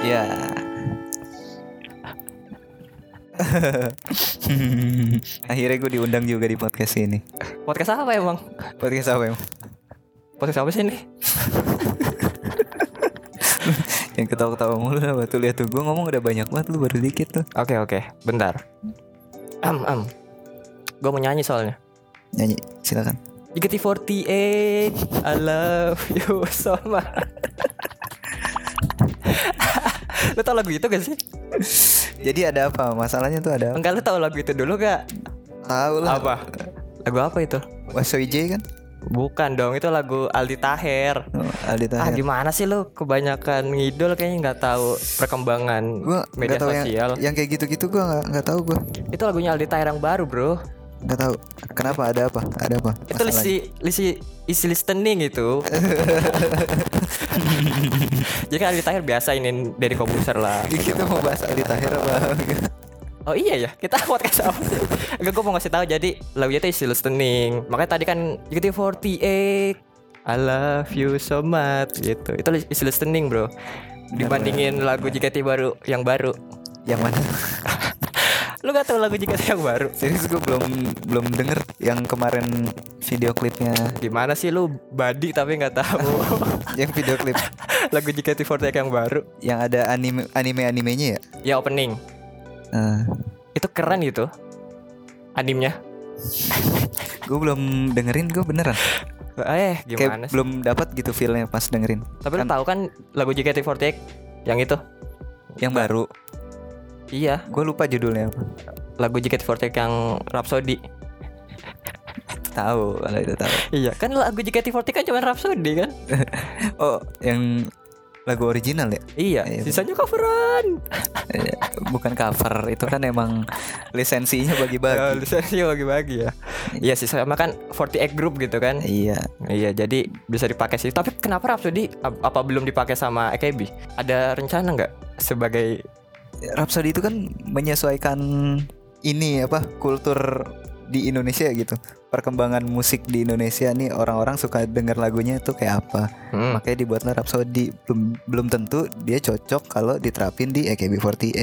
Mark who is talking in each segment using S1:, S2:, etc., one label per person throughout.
S1: Ya. Akhirnya gue diundang juga di podcast ini.
S2: Podcast apa emang?
S1: Podcast apa emang?
S2: Podcast apa sih ini?
S1: Yang ketawa-ketawa mulu lah tuh lihat tuh gue ngomong udah banyak banget lu baru dikit tuh.
S2: Oke oke, bentar. Am am. Gue mau nyanyi soalnya.
S1: Nyanyi silakan.
S2: JKT48 I love you so much Lo tau lagu itu gak sih?
S1: Jadi ada apa? Masalahnya tuh ada apa?
S2: Enggak lo tau lagu itu dulu gak?
S1: Tahu lah.
S2: Lagu apa itu?
S1: Waso IJ kan?
S2: Bukan dong itu lagu Aldi Taher
S1: Oh, Aldi
S2: Ah
S1: Tahir.
S2: gimana sih lo kebanyakan ngidol kayaknya nggak tahu perkembangan
S1: gue
S2: media
S1: nggak tahu yang,
S2: sosial
S1: yang kayak gitu-gitu gue nggak nggak tahu gue
S2: Itu lagunya Aldi Taher yang baru bro
S1: nggak tahu kenapa ada apa ada apa
S2: Itu
S1: Masalahnya.
S2: lisi, lisi, isi listening itu Jadi kan Aldi Taher biasa ini dari komputer lah
S1: kita mau bahas Aldi Tahir apa
S2: Oh iya ya, kita podcast apa sih? Enggak, gue mau ngasih tahu jadi lagunya itu isi listening. Makanya tadi kan JKT48 I love you so much gitu. Itu isi listening, Bro. Dibandingin lagu JKT baru yang baru.
S1: yang mana
S2: Lu gak tau lagu JKT yang baru?
S1: serius gue belum belum denger yang kemarin video klipnya
S2: Gimana sih lu badi tapi nggak tahu
S1: yang video klip
S2: lagu JKT48 yang baru?
S1: yang ada anime anime animenya ya
S2: Ya opening.
S1: Eh,
S2: Itu keren gitu. Animnya.
S1: gue belum dengerin gue beneran
S2: Eh, gimana
S1: kayak
S2: sih?
S1: belum dapat gitu feelnya pas dengerin
S2: Tapi lu tahu kan lagu JKT48 yang itu?
S1: yang baru
S2: Iya,
S1: gue lupa judulnya apa
S2: lagu JKT48 yang Rhapsody.
S1: tahu kalau itu tahu
S2: Iya kan lagu JKT48 kan cuma Rhapsody kan
S1: oh yang lagu original ya
S2: Iya
S1: Iya.
S2: sisanya coveran
S1: Eh, bukan cover itu kan emang lisensinya
S2: Ya,
S1: bagi-bagi
S2: Lisensi bagi-bagi ya Iya sih sama kan 48 group gitu kan
S1: iya
S2: Iya jadi bisa dipakai sih Tapi kenapa Rhapsody ap- apa belum dipakai sama AKB Ada rencana nggak sebagai
S1: Rhapsody itu kan menyesuaikan ini apa kultur di Indonesia gitu perkembangan musik di Indonesia nih orang-orang suka denger lagunya tuh kayak apa
S2: Hmm,
S1: makanya dibuatlah Rhapsody belum belum tentu dia cocok kalau diterapin di AKB48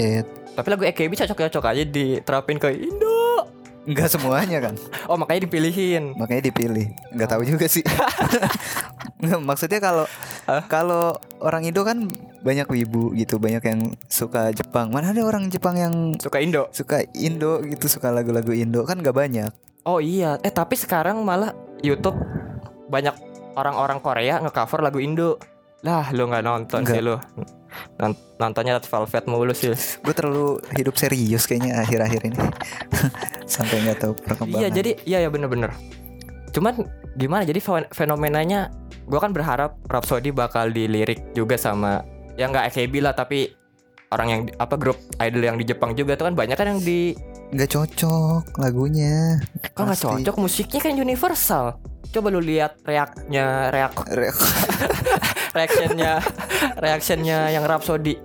S2: Tapi lagu AKB cocok-cocok aja diterapin ke Indo
S1: nggak semuanya kan
S2: Oh makanya dipilihin
S1: makanya dipilih nggak tahu juga sih Nggak, maksudnya kalau kalau orang Indo kan banyak wibu gitu banyak yang suka Jepang mana ada orang Jepang yang
S2: Suka Indo
S1: suka Indo gitu suka lagu-lagu Indo kan nggak banyak
S2: Oh iya Eh tapi sekarang malah Youtube Banyak orang-orang Korea ngecover lagu Indo Lah lu nggak Iya, nonton
S1: Nggak.
S2: sih lu Nont- Nontonnya Red Velvet mulu sih
S1: gue terlalu hidup serius kayaknya akhir-akhir ini sampai nggak tahu perkembangan
S2: Iya jadi iya ya bener-bener Cuman gimana jadi fen- fenomenanya Gue kan berharap Rhapsody bakal dilirik juga sama Ya nggak AKB lah tapi Orang yang di- apa grup idol yang di Jepang juga tuh kan banyak kan yang di
S1: nggak cocok lagunya
S2: Kok nggak
S1: Pasti.
S2: cocok musiknya kan universal Coba lu lihat reaknya reak
S1: Re-
S2: reactionnya reactionnya yang Rhapsody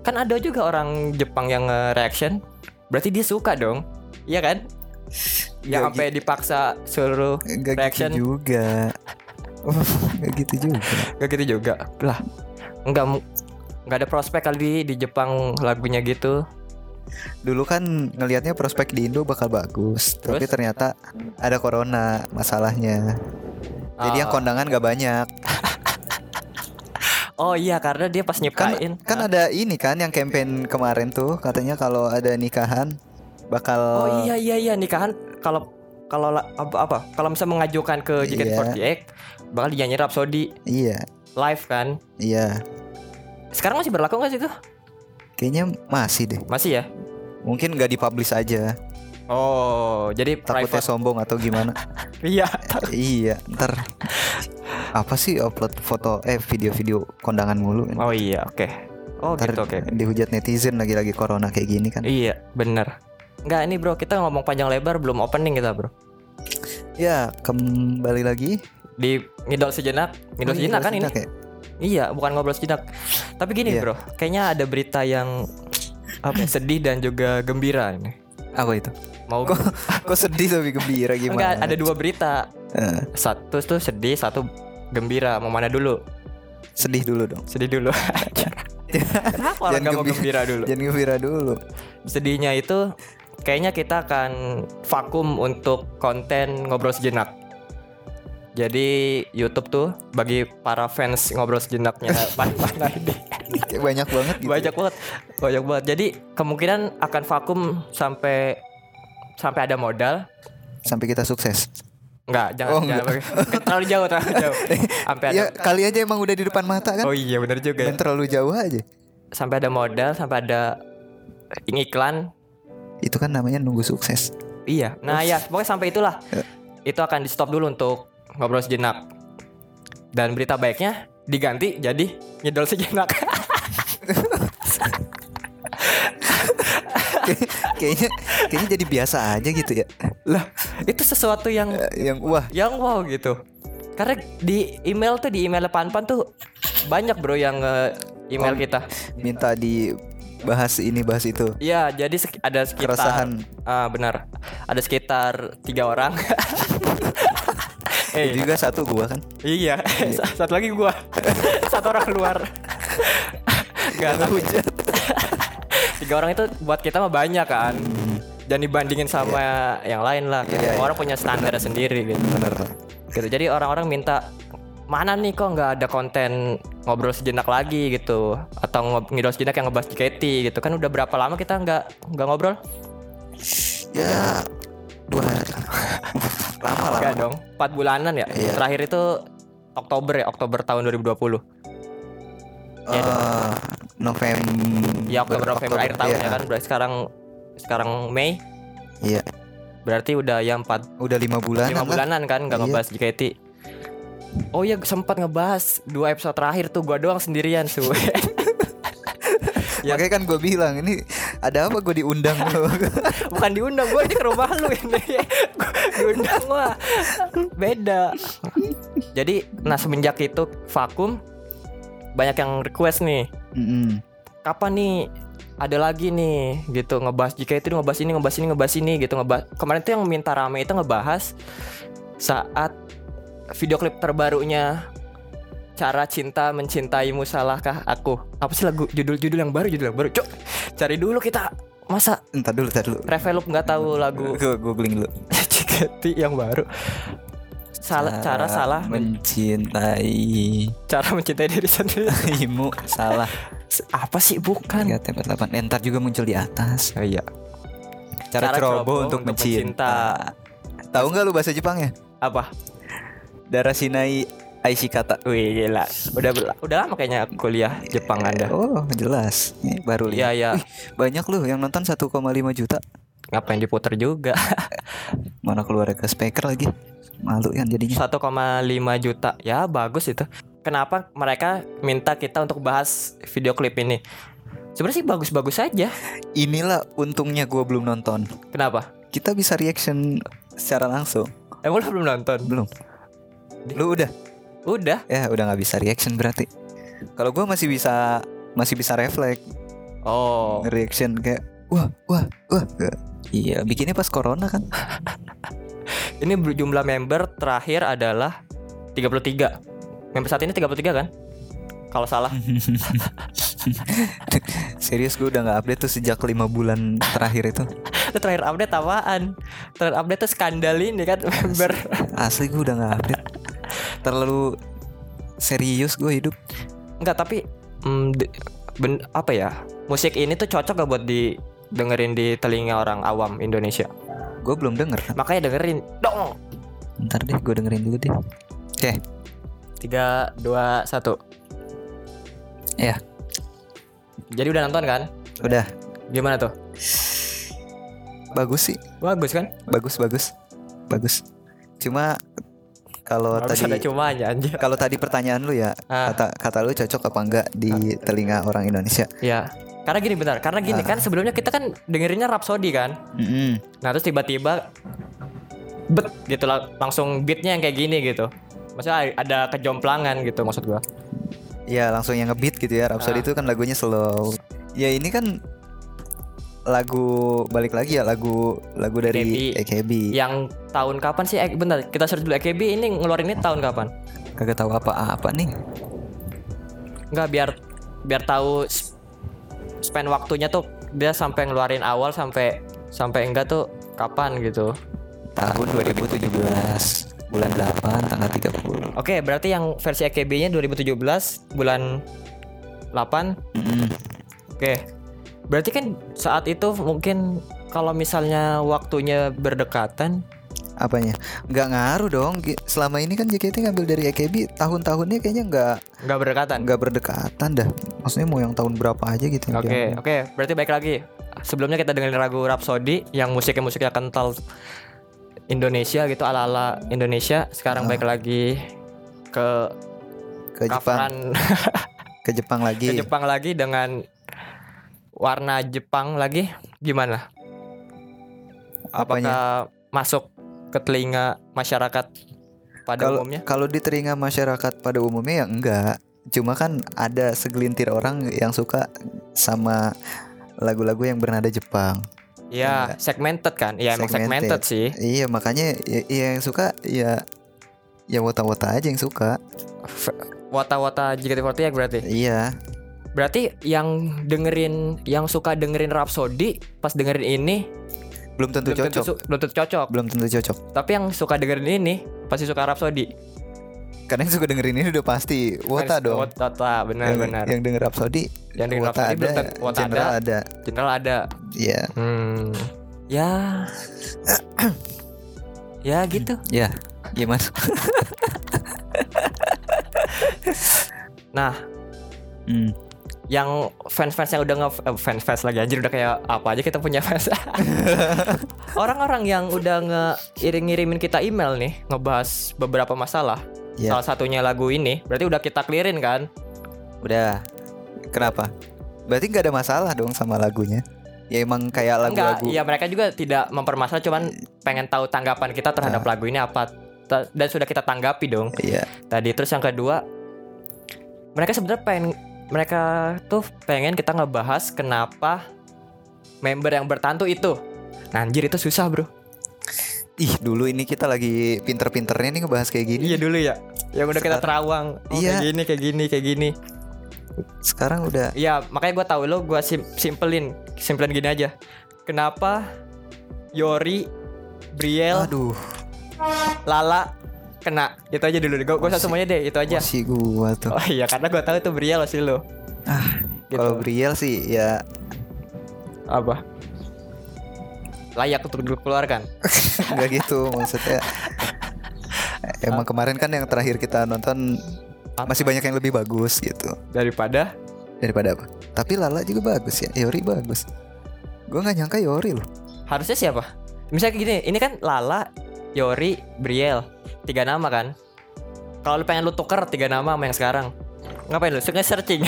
S2: kan ada juga orang Jepang yang reaction berarti dia suka dong iya kan yang
S1: Nggak
S2: sampai dipaksa suruh
S1: nggak
S2: Reaction.
S1: gitu juga nggak gitu juga
S2: Gak gitu juga lah nggak mu- nggak ada prospek kali di, di Jepang lagunya gitu
S1: dulu kan ngelihatnya prospek di Indo bakal bagus tapi
S2: Terus?
S1: ternyata ada corona masalahnya jadi yang
S2: Ah.
S1: kondangan nggak banyak
S2: oh iya karena dia pas
S1: kan
S2: nyiptain
S1: kan ada ini kan yang campaign kemarin tuh katanya kalau ada nikahan bakal
S2: oh iya iya iya nikahan kalau kalau la- apa apa kalau misalnya mengajukan ke JKT48 bakal dinyanyi Rhapsody
S1: iya
S2: live kan
S1: iya
S2: sekarang masih berlaku nggak sih itu
S1: kayaknya masih deh
S2: masih ya
S1: mungkin nggak dipublish aja
S2: Oh, jadi
S1: takutnya
S2: private.
S1: sombong atau gimana
S2: Iya.
S1: iya ntar apa sih upload foto eh video-video kondangan mulu
S2: Oh iya, oke. Oh
S1: ntar
S2: gitu, oke.
S1: dihujat netizen lagi-lagi corona kayak gini kan
S2: Iya, bener. Enggak, ini bro, kita ngomong panjang lebar belum opening kita, bro.
S1: ya kembali lagi
S2: Di ngidol sejenak,
S1: Oh,
S2: ngidol
S1: iya,
S2: sejenak kan ini?
S1: sejenak ya?
S2: Iya, bukan ngobrol sejenak. Tapi gini,
S1: Iya.
S2: bro, kayaknya ada berita yang apa ya, sedih dan juga gembira ini.
S1: apa itu
S2: Mau
S1: kok kok sedih tapi gembira
S2: Enggak,
S1: gimana
S2: ada dua berita.
S1: Eh,
S2: Satu tuh sedih, satu gembira. Mau mana dulu?
S1: sedih dulu dong
S2: Sedih dulu. Kenapa orang nggak mau
S1: gembi-
S2: gembira dulu?
S1: Jangan gembira dulu.
S2: Sedihnya itu kayaknya kita akan vakum untuk konten ngobrol sejenak. Jadi YouTube tuh bagi para fans ngobrol sejenaknya Pantai ini
S1: Kayak banyak banget gitu.
S2: banyak banget, banyak banget. Jadi kemungkinan akan vakum sampai sampai ada modal.
S1: Sampai kita sukses.
S2: Enggak, jangan,
S1: Oh,
S2: jangan pakai- terlalu jauh, terlalu jauh. Sampai ada,
S1: Ya kali aja emang udah di depan mata kan.
S2: oh iya benar juga. ya.
S1: Dan terlalu jauh aja.
S2: Sampai ada modal, sampai ada iklan,
S1: Itu kan namanya nunggu sukses.
S2: Iya. Nah ya, pokoknya sampai itulah.
S1: Ya.
S2: Itu akan di stop dulu untuk ngobrol sejenak. Dan berita baiknya diganti jadi ngidol sejenak.
S1: kayaknya kayaknya jadi biasa aja gitu ya.
S2: lah, itu sesuatu yang
S1: Eh, Yang wah
S2: yang wow gitu. Karena di email tuh di email Panpan tuh banyak bro yang nge-
S1: Oh.
S2: email kita.
S1: minta dibahas ini bahas itu.
S2: Iya, jadi sek- ada sekitar
S1: Keresahan.
S2: Ah, benar. Ada sekitar tiga orang. Eh,
S1: Itu juga satu gua kan.
S2: Iya, sa- satu lagi gua. satu orang keluar. Gak tahu hujan. Tiga orang itu buat kita mah banyak kan. Dan dibandingin sama yang lain lah. Kayak
S1: Hmm. Iya, iya.
S2: orang punya standar sendiri gitu. Gitu. Jadi orang-orang minta mana nih kok nggak ada konten ngobrol sejenak lagi gitu atau ngob- ngobrol sejenak yang ngebahas JKT gitu kan udah berapa lama kita nggak nggak ngobrol
S1: Ya dua hari. Lama lah.
S2: Enggak dong 4 bulanan ya
S1: Iya.
S2: terakhir itu Oktober ya Oktober tahun 2020 Iya dong.
S1: Eh, November.
S2: Ya Oktober November akhir tahun
S1: iya.
S2: ya kan berarti sekarang sekarang Mei
S1: Iya.
S2: berarti udah ya 4
S1: Udah lima bulan.
S2: 5 bulanan kan nggak
S1: Iya.
S2: ngebahas JKT. Oh iya sempat ngebahas dua episode terakhir tuh gua doang sendirian su. Ya.
S1: Makanya kan gue bilang ini ada apa gue diundang
S2: Bukan diundang gua ini ke rumah lu ini. Gua- diundang gua. Beda. Jadi nah semenjak itu vakum banyak yang request nih.
S1: Mm-mm.
S2: kapan nih ada lagi nih gitu ngebahas jika itu ngebahas ini ngebahas ini ngebahas ini gitu ngebahas kemarin tuh yang minta rame itu ngebahas saat video klip terbarunya cara cinta mencintaimu salahkah aku apa sih lagu judul-judul yang baru judul yang baru cok cari dulu kita masa
S1: Ntar dulu, ntar dulu.
S2: Revelup nggak tahu lagu
S1: Gue googling dulu.
S2: JKT yang baru salah cara, salah
S1: Ah,
S2: men-
S1: mencintai
S2: cara mencintai diri sendiri
S1: imu salah.
S2: apa sih bukan
S1: Tiga tempat delapan. Eh, Ntar juga muncul di atas.
S2: Oh, iya
S1: Cara, ceroboh untuk, mencinta. Tahu nggak lu bahasa Jepangnya?
S2: apa
S1: Darah Sinai Aishikata.
S2: Wih gila, udah ber- udah lama kayaknya kuliah Jepang Anda.
S1: Oh, jelas. Ini Baru lihat.
S2: Iya ya,
S1: Wih, banyak lu yang nonton 1,5 juta.
S2: ngapain diputer juga?
S1: Mana keluarga speaker lagi. Malu yang jadinya.
S2: 1,5 juta, ya bagus itu. Kenapa mereka minta kita untuk bahas video klip ini? Sebenarnya sih bagus-bagus saja.
S1: Inilah untungnya gua belum nonton.
S2: Kenapa?
S1: Kita bisa reaction secara langsung.
S2: Emang lu belum nonton?
S1: Belum. Lu udah?
S2: Udah.
S1: Ya, udah nggak bisa reaction berarti. Kalau gua masih bisa masih bisa refleks
S2: Oh,
S1: reaction kayak wah wah wah. Iya, bikinnya pas corona kan.
S2: ini ber- jumlah member terakhir adalah 33. Member saat ini 33 kan? Kalau salah.
S1: Serius gue udah nggak update tuh sejak lima bulan terakhir itu.
S2: Itu terakhir update apaan? Terakhir update tuh skandal ini kan member.
S1: Asli gue udah nggak update. Terlalu serius gue hidup.
S2: Enggak tapi mm, di- ben- apa ya musik ini tuh cocok gak buat didengerin di telinga orang awam Indonesia
S1: Gue belum denger.
S2: makanya dengerin dong
S1: Ntar deh gue dengerin dulu deh. Oke,
S2: tiga dua satu
S1: Iya.
S2: jadi udah nonton kan
S1: udah
S2: gimana tuh
S1: bagus sih,
S2: bagus kan
S1: bagus bagus, bagus. Cuma kalau
S2: bagus ada
S1: tadi Iya.
S2: cumanya anjir
S1: kalau tadi pertanyaan lu ya
S2: Ah.
S1: kata kata lu cocok apa enggak di telinga orang Indonesia?
S2: ya karena gini benar karena
S1: Ah.
S2: gini kan sebelumnya kita kan dengerinnya Rhapsody kan
S1: Mm-mm.
S2: Nah terus tiba-tiba bet gitu lah, langsung beatnya yang kayak gini gitu. Maksudnya ada kejomplangan gitu maksud gua.
S1: Ya langsung yang ngebeat gitu ya Rhapsody
S2: Ah.
S1: itu kan lagunya slow Ya ini kan lagu balik lagi ya lagu lagu dari
S2: AKB.
S1: EKB
S2: Yang tahun kapan sih? Eh, bentar, kita search dulu AKB ini ngeluarinnya tahun kapan?
S1: kagak tahu apa-apa nih
S2: Enggak biar biar tahu s- spend waktunya tuh dia sampai ngeluarin awal sampai sampai enggak tuh kapan gitu.
S1: tahun 2017 bulan 8 tanggal 30
S2: Oke, berarti yang versi EKB-nya 2017 bulan 8.
S1: Mm-mm.
S2: Oke. Berarti kan saat itu mungkin kalau misalnya waktunya berdekatan,
S1: apanya nggak ngaruh dong Ki- selama ini kan JKT ngambil dari EKB tahun-tahunnya kayaknya nggak
S2: nggak berdekatan.
S1: nggak berdekatan dah maksudnya mau yang tahun berapa aja gitu yang
S2: Oke,
S1: diambil.
S2: oke. Berarti baik lagi. Sebelumnya kita dengerin lagu Rhapsody yang musiknya musiknya kental Indonesia gitu ala-ala Indonesia. Sekarang baik lagi ke,
S1: Ah. ke Jepang Iya.
S2: coveran
S1: ke Jepang lagi
S2: ke Jepang lagi dengan warna Jepang lagi. Gimana?
S1: apanya
S2: Apakah masuk ke telinga masyarakat pada
S1: kalau
S2: umumnya?
S1: kalau di telinga masyarakat pada umumnya ya enggak cuma kan ada segelintir orang yang suka sama lagu-lagu yang bernada Jepang
S2: Ya, segmented kan? Ya emang
S1: Iya. Segmented.
S2: segmented sih.
S1: iya makanya ya, ya yang suka ya ya wota-wota aja yang suka
S2: Wata-wata JKT48 berarti.
S1: iya
S2: Berarti yang dengerin yang suka dengerin Rhapsody pas dengerin ini
S1: belum tentu
S2: belum tentu
S1: cocok
S2: su- belum tentu cocok.
S1: belum tentu cocok
S2: Tapi yang suka dengerin ini pasti suka Rhapsody.
S1: karena yang suka dengerin ini udah pasti wota
S2: Kan,
S1: dong
S2: Wota, wota, benar
S1: yang,
S2: benar.
S1: yang denger Rhapsody
S2: Yang denger
S1: wota
S2: Rhapsody belum
S1: ada
S2: tentu- wota
S1: general
S2: ada.
S1: ada
S2: General ada.
S1: iya
S2: Hmm. Ya. ya gitu.
S1: ya gimana
S2: Nah,
S1: hmm.
S2: yang fans-fans yang udah nge eh, fans-fans lagi anjir udah kayak apa aja kita punya fans. Orang-orang yang udah ngiring-ngirimin kita email nih ngebahas beberapa masalah.
S1: Iya.
S2: Salah satunya lagu ini, berarti udah kita clearin kan?
S1: Udah. Kenapa? Berarti nggak ada masalah dong sama lagunya. Ya emang kayak
S2: Enggak,
S1: lagu-lagu.
S2: ya mereka juga tidak mempermasalah cuman pengen tahu tanggapan kita
S1: Nah.
S2: terhadap lagu ini apa Ta- dan sudah kita tanggapi dong
S1: Iya.
S2: tadi. Terus yang kedua, mereka sebenarnya pengen mereka tuh pengen kita ngebahas kenapa member yang bertantu itu. Nah, anjir itu susah, Bro.
S1: Ih, dulu ini kita lagi pinter-pinternya nih ngebahas kayak gini.
S2: Iya dulu ya. Yang udah kita
S1: Sekarang-
S2: terawang. Oh,
S1: Iya.
S2: Kayak gini, kayak gini, kayak gini.
S1: Sekarang udah
S2: Iya, makanya gua tahu lo gua sim- simpelin, simpelin gini aja. Kenapa Yori, Briel,
S1: aduh,
S2: Lala kena? Itu aja dulu. Gua, gua
S1: Masih-
S2: semuanya deh, itu aja.
S1: masih gua tuh.
S2: Oh iya, karena gua tahu itu Briel sih lo.
S1: Ah,
S2: Gitu.
S1: kalau Briel sih ya
S2: Apa? Layak untuk dikeluarkan.
S1: nggak gitu maksudnya. Emang kemarin kan yang terakhir kita nonton
S2: Apa?
S1: masih banyak yang lebih bagus gitu
S2: Daripada
S1: daripada apa. Tapi Lala juga bagus ya. Yori bagus. Gua nggak nyangka Yori loh.
S2: harusnya siapa? Misalnya kayak gini, ini kan Lala, Yori, Briel, tiga nama kan. Kalau lu pengen lu tuker tiga nama sama yang sekarang, ngapain lu? Suka searching.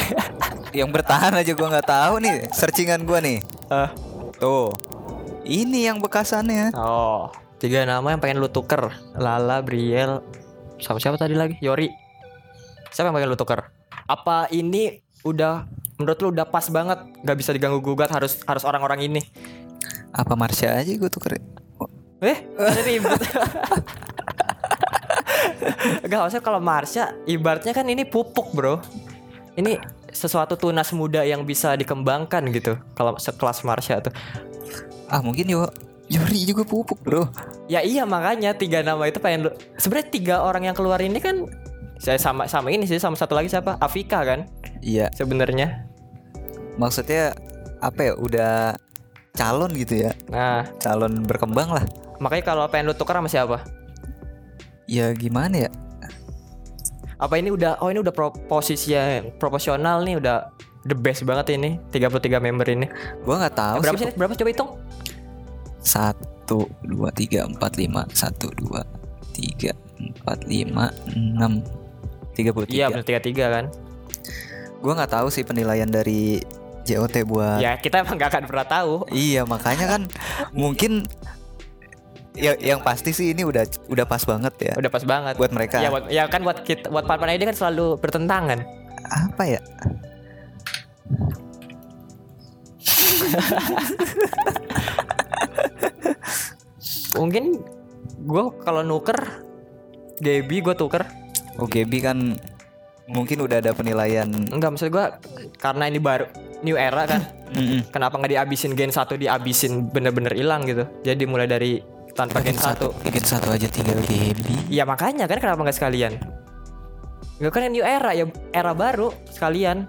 S1: Yang bertahan aja gua nggak tahu nih. Searchingan gua nih.
S2: Eh,
S1: Tuh. Ini yang bekasannya.
S2: oh, tiga nama yang pengen lu tuker. Lala, Briel, sama siapa tadi lagi? Yori. Siapa yang pengen lu tuker? Apa ini udah menurut lu udah pas banget, nggak bisa diganggu gugat harus harus orang-orang ini.
S1: Apa Marsha aja gue tuker.
S2: Eh, ada ribut. Gak maksudnya kalau Marsha ibaratnya kan ini pupuk, Bro. Ini sesuatu tunas muda yang bisa dikembangkan gitu kalau sekelas Marsha tuh.
S1: Ah mungkin yo Yori juga pupuk bro.
S2: Ya iya makanya tiga nama itu pengen lu sebenarnya tiga orang yang keluar ini kan saya sama sama ini sih sama satu lagi siapa? Afika kan
S1: Iya.
S2: sebenarnya.
S1: Maksudnya apa ya? Udah calon gitu ya.
S2: Nah,
S1: Calon berkembang lah.
S2: makanya kalau pengen lu tukar sama siapa?
S1: Ya gimana ya?
S2: Apa ini udah oh ini udah proposisi yang proporsional nih udah the best banget ini 33 member ini.
S1: Gua nggak tahu
S2: berapa
S1: sih.
S2: sih? Berapa coba hitung?
S1: Satu, dua, tiga, empat, lima. Satu, dua, tiga, empat, lima, enam. Tiga puluh tiga.
S2: Iya benar tiga tiga kan.
S1: Gua nggak tahu sih penilaian dari JOT buat
S2: Ya kita emang gak akan pernah tahu.
S1: Iya makanya kan mungkin ya yang pasti sih ini udah udah pas banget ya
S2: Udah pas banget.
S1: buat mereka.
S2: Ya, buat, ya kan buat kita, buat partner ini kan selalu bertentangan.
S1: Apa
S2: Iya.
S1: ya?
S2: Mungkin gue kalau nuker Debbie gue tuker
S1: OGB kan mungkin udah ada penilaian
S2: Enggak maksud gua karena ini baru new era kan.
S1: Mm-mm.
S2: Kenapa nggak dihabisin gen 1 dihabisin bener-bener hilang gitu. Jadi mulai dari tanpa gen 1.
S1: bikin satu aja tiga baby
S2: Ya makanya kan kenapa nggak sekalian? Enggak kan new era ya era baru sekalian.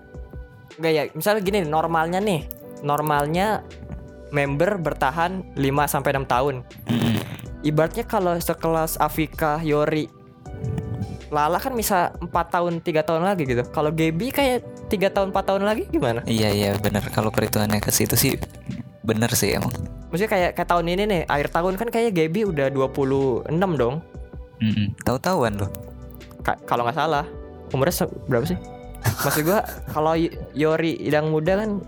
S2: Enggak ya, misalnya gini normalnya nih. Normalnya member bertahan 5 sampai 6 tahun. Ibaratnya kalau sekelas Afika, Yori, Lala kan bisa 4 tahun, 3 tahun lagi gitu. Kalau Gaby kayak 3 tahun, 4 tahun lagi gimana?
S1: iya iya bener kalau perhitungannya ke situ sih bener sih emang
S2: Maksudnya kayak kayak tahun ini nih, akhir tahun kan kayak Gaby udah 26 dong.
S1: Mm-mm. tahu-tahuan loh
S2: Ka- kalau nggak salah. Umurnya se- berapa sih? Maksud gua kalau Y- Yori yang muda kan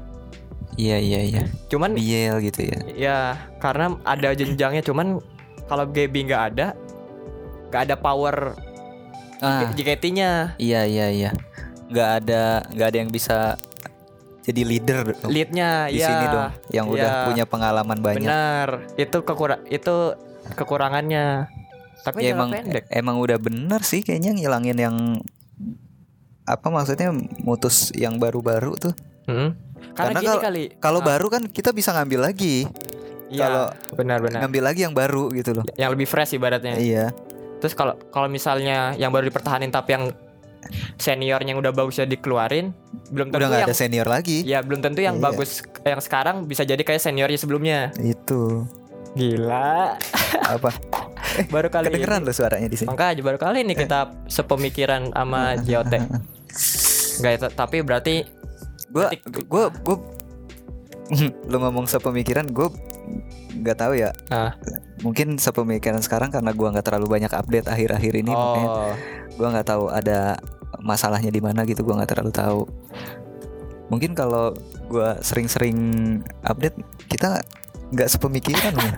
S1: iya iya iya
S2: cuman
S1: biel gitu ya
S2: ya karena ada jenjangnya cuman kalau Gaby nggak ada nggak ada power
S1: ah
S2: JKT-nya,
S1: iya iya iya nggak ada nggak ada yang bisa jadi leader dong.
S2: lead-nya
S1: di
S2: ya.
S1: sini dong yang udah
S2: Iya.
S1: punya pengalaman banyak
S2: Benar. Itu kekurang itu kekurangannya. Tapi
S1: ya
S2: jangka
S1: emang
S2: pendek.
S1: emang udah bener sih kayaknya ngilangin yang apa maksudnya mutus yang baru-baru tuh
S2: Mm-mm. Karena,
S1: Karena
S2: gini
S1: kalau-
S2: kali.
S1: kalau
S2: hmm? Ah,
S1: baru kan kita bisa ngambil lagi
S2: iya,
S1: kalau-
S2: benar-benar
S1: ngambil lagi yang baru gitu loh
S2: yang lebih fresh ibaratnya.
S1: iya
S2: Terus kalau kalau misalnya yang baru dipertahanin tapi yang seniornya yang udah bagusnya dikeluarin, belum tentu
S1: udah nggak
S2: yang
S1: ada senior lagi
S2: ya belum tentu yang
S1: Iya.
S2: bagus yang sekarang bisa jadi kayak seniornya sebelumnya.
S1: itu
S2: Gila.
S1: apa
S2: Baru kali
S1: kedengeran Eh. loh suaranya di
S2: ini.
S1: sini
S2: Makanya baru kali ini kita sepemikiran sama JOT. Enggak ya, t- tapi berarti
S1: gue
S2: Ketik.
S1: gue gue lo ngomong sepemikiran gue nggak tahu ya
S2: ah,
S1: mungkin sepemikiran sekarang karena gua nggak terlalu banyak update akhir-akhir ini makanya
S2: oh.
S1: gue nggak tahu ada masalahnya di mana gitu gua nggak terlalu tahu mungkin kalau gua sering-sering update kita nggak sepemikiran ya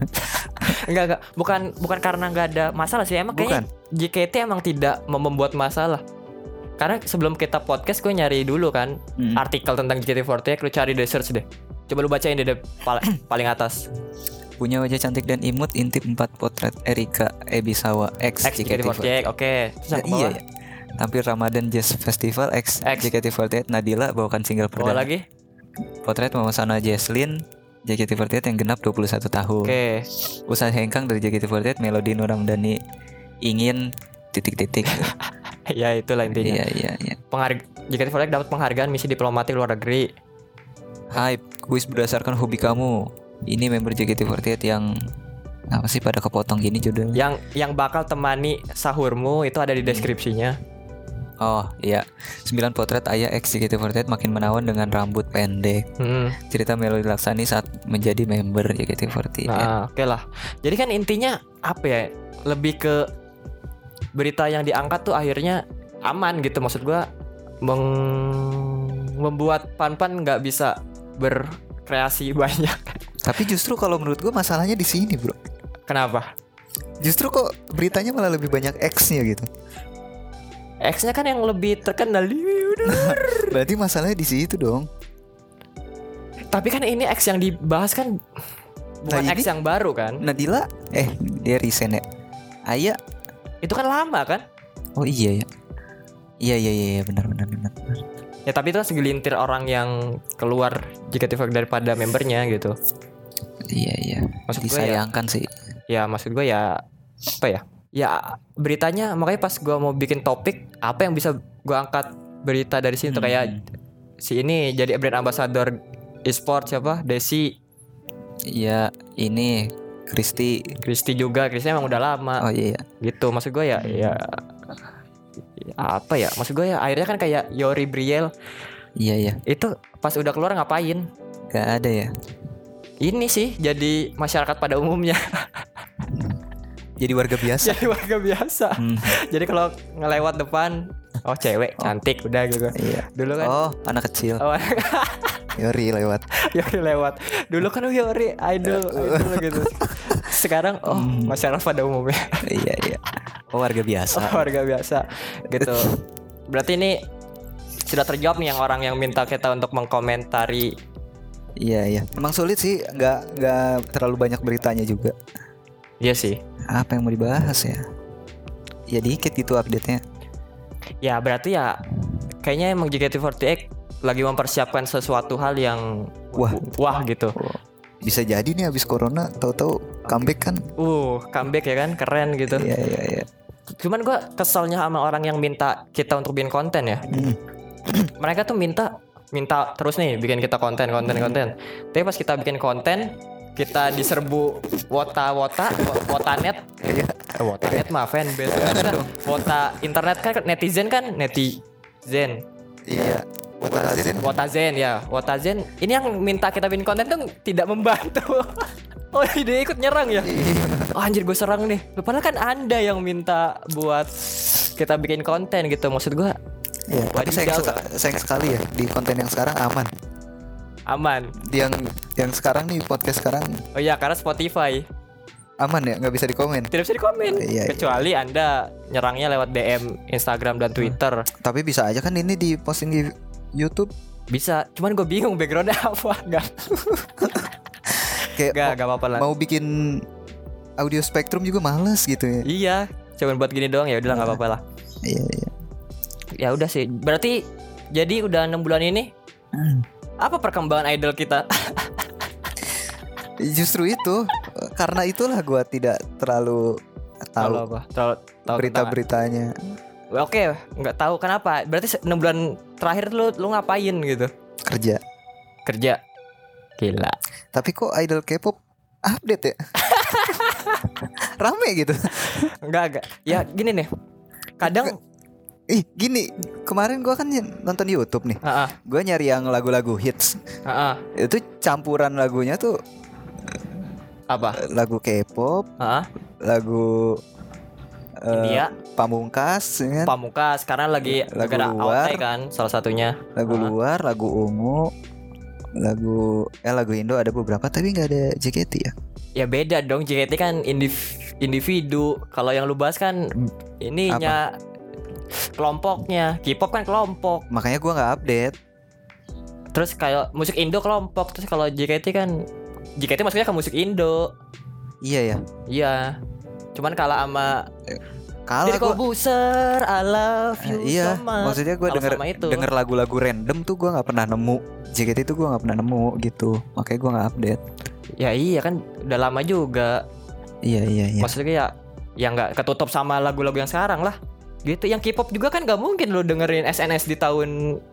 S2: Enggak enggak, bukan bukan karena nggak ada masalah sih emang
S1: bukan
S2: kayaknya JKT emang tidak mem- membuat masalah. Karena sebelum kita podcast gue nyari dulu kan
S1: Mm.
S2: artikel tentang JKT48 lu cari deh search deh. Coba lu bacain deh, deh pal- paling atas
S1: punya wajah cantik dan imut intip 4 potret Erika Ebisawa X
S2: X JKT48. Oke. Terus yang
S1: Nah,
S2: ke bawah,
S1: iya ya tampil Ramadan Jazz Festival X,
S2: X.
S1: JKT48 Nadila bawakan single
S2: bawah
S1: perdana
S2: lagi.
S1: potret Mama Sana Jesslyn JKT48 yang genap 21 tahun
S2: Oke.
S1: usaha hengkang dari JKT48 Melodi Nur Ramdhani ingin titik-titik
S2: ya itulah intinya.
S1: iya iya iya
S2: Pengharg JKT48 dapat penghargaan misi diplomatik luar negeri.
S1: hype kuis berdasarkan hobi kamu ini member JKT48 yang apa sih pada kepotong gini judulnya
S2: Yang yang bakal temani sahurmu itu ada di
S1: Iya.
S2: deskripsinya.
S1: oh iya 9 potret ayah ex JKT48 makin menawan dengan rambut pendek
S2: Hmm.
S1: cerita Melodi Laksani saat menjadi member JKT48
S2: Nah, oke lah. Jadi kan intinya apa ya? Lebih ke berita yang diangkat tuh akhirnya aman gitu maksud gua meng- membuat pan-pan nggak bisa berkreasi banyak.
S1: tapi justru kalau menurut gue masalahnya di sini bro
S2: Kenapa?
S1: justru kok beritanya malah lebih banyak X-nya gitu
S2: X-nya kan yang lebih terkenal. Nah,
S1: berarti masalahnya di situ dong
S2: Tapi kan ini X yang dibahas kan bukan
S1: Nah, ini-
S2: X yang baru kan?
S1: Nadila eh dia resign ya Aya
S2: Itu kan lama kan?
S1: oh iya ya iya iya iya iya, benar benar benar benar.
S2: Ya tapi itu kan segelintir orang yang keluar JKT48 daripada membernya gitu.
S1: iya iya
S2: Maksud gue ya-
S1: disayangkan sih
S2: ya maksud gue ya apa ya ya beritanya makanya pas gue mau bikin topik apa yang bisa gue angkat berita dari sini tuh
S1: Hmm.
S2: kayak si ini jadi brand ambassador e-sport siapa Desi
S1: Iya, ini Kristi.
S2: Kristi juga Kristi emang udah lama
S1: Oh iya, iya.
S2: gitu maksud gue ya ya ya apa ya maksud gue ya akhirnya kan kayak Yori Briel
S1: iya iya,
S2: itu pas udah keluar ngapain
S1: gak ada ya.
S2: ini sih jadi masyarakat pada umumnya
S1: Jadi warga biasa.
S2: jadi warga biasa
S1: Hmm,
S2: jadi kalau ngelewat depan oh cewek cantik udah gitu
S1: iya.
S2: dulu kan
S1: Oh, anak kecil.
S2: Oh,
S1: Yori lewat.
S2: Yori lewat. Dulu kan Yori idol, idol gitu. Sekarang oh masyarakat pada umumnya
S1: iya iya. Oh warga biasa.
S2: warga biasa gitu. Berarti ini sudah terjawab nih yang orang yang minta kita untuk mengkomentari.
S1: Iya iya. Emang sulit sih, nggak nggak terlalu banyak beritanya juga.
S2: Iya sih.
S1: Apa yang mau dibahas ya? Ya dikit gitu update-nya.
S2: Ya berarti ya kayaknya emang JKT48 lagi mempersiapkan sesuatu hal yang
S1: Wah.
S2: wah gitu.
S1: Bisa jadi nih abis corona tahu-tahu comeback kan?
S2: Uh, comeback ya kan, keren gitu.
S1: Iya iya iya.
S2: Cuman gua keselnya sama orang yang minta kita untuk bikin konten ya.
S1: Hmm.
S2: Mereka tuh minta minta terus nih bikin kita konten konten
S1: Hmm.
S2: konten. Tapi pas kita bikin konten kita diserbu wota wota wo- wotanet
S1: Iya.
S2: eh, wotanet mah fanbase kan. wota internet kan netizen kan netizen
S1: Iya. Watasin.
S2: Wotazen ya, Wotazen. Ini yang minta kita bikin konten tuh tidak membantu. oh, dia ikut nyerang ya. Oh, anjir gue serang nih. Loh, Padahal kan Anda yang minta buat kita bikin konten gitu. Maksud gua
S1: Iya. Tapi sayang,
S2: Wadidaw.
S1: seka- sayang sekali ya di konten yang sekarang aman.
S2: aman.
S1: Di yang yang sekarang nih podcast sekarang
S2: Oh iya, karena Spotify
S1: aman ya nggak bisa dikomen.
S2: tidak bisa dikomen
S1: Iya, iya.
S2: kecuali Anda nyerangnya lewat DM Instagram dan Twitter.
S1: Tapi bisa aja kan ini diposting di YouTube
S2: Bisa. Cuman gue bingung backgroundnya apa. Gak,
S1: kayak
S2: gak, gak apa-apa lah.
S1: mau bikin audio spektrum juga males gitu ya.
S2: Iya, cuman buat gini doang ya udah nggak apa-apa lah.
S1: Iya iya.
S2: Ya udah sih. Berarti jadi udah enam bulan ini
S1: Hmm.
S2: apa perkembangan idol kita?
S1: Justru itu karena itulah gua tidak terlalu
S2: Terlalu
S1: tahu
S2: apa? Terlalu tahu tentang-
S1: berita-beritanya.
S2: Oke, nggak tahu kenapa. Berarti se- enam bulan terakhir lu lu ngapain gitu?
S1: kerja.
S2: Kerja. Gila.
S1: Tapi kok idol K-pop update ya? Rame gitu.
S2: Enggak enggak. Ya gini nih. Kadang
S1: Ih, gini, kemarin gua kan nonton YouTube nih.
S2: Heeh,
S1: Gua nyari yang lagu-lagu hits.
S2: heeh.
S1: Itu campuran lagunya tuh
S2: Apa?
S1: lagu K-pop,
S2: Heeh.
S1: lagu eh,
S2: India,
S1: pamungkas, ya kan?
S2: Pamungkas karena lagi
S1: Lagu
S2: gara
S1: luar.
S2: AOT kan salah satunya.
S1: lagu
S2: Ah.
S1: luar, lagu ungu, lagu eh lagu Indo ada beberapa tapi nggak ada JKT ya.
S2: Ya beda dong JKT kan indiv- individu. Kalau yang lu bahas kan
S1: Hmm.
S2: ininya kelompoknya. K-pop kan kelompok.
S1: Makanya gua nggak update.
S2: Terus kayak musik Indo kelompok terus kalau JKT kan JKT maksudnya ke musik Indo.
S1: Iya ya.
S2: Iya. Cuman kalah sama
S1: Kalah
S2: Jadi
S1: gua.
S2: Kobuser, I love
S1: Eh,
S2: you
S1: iya,
S2: so much.
S1: maksudnya gue
S2: Kalau
S1: denger
S2: sama itu.
S1: denger lagu-lagu random tuh gue nggak pernah nemu. JKT itu gue nggak pernah nemu gitu, makanya gue nggak update.
S2: Ya iya kan udah lama juga.
S1: Iya iya iya.
S2: Maksudnya ya ya nggak ketutup sama lagu-lagu yang sekarang lah. Gitu. Yang K-pop juga kan nggak mungkin lo dengerin SNS di tahun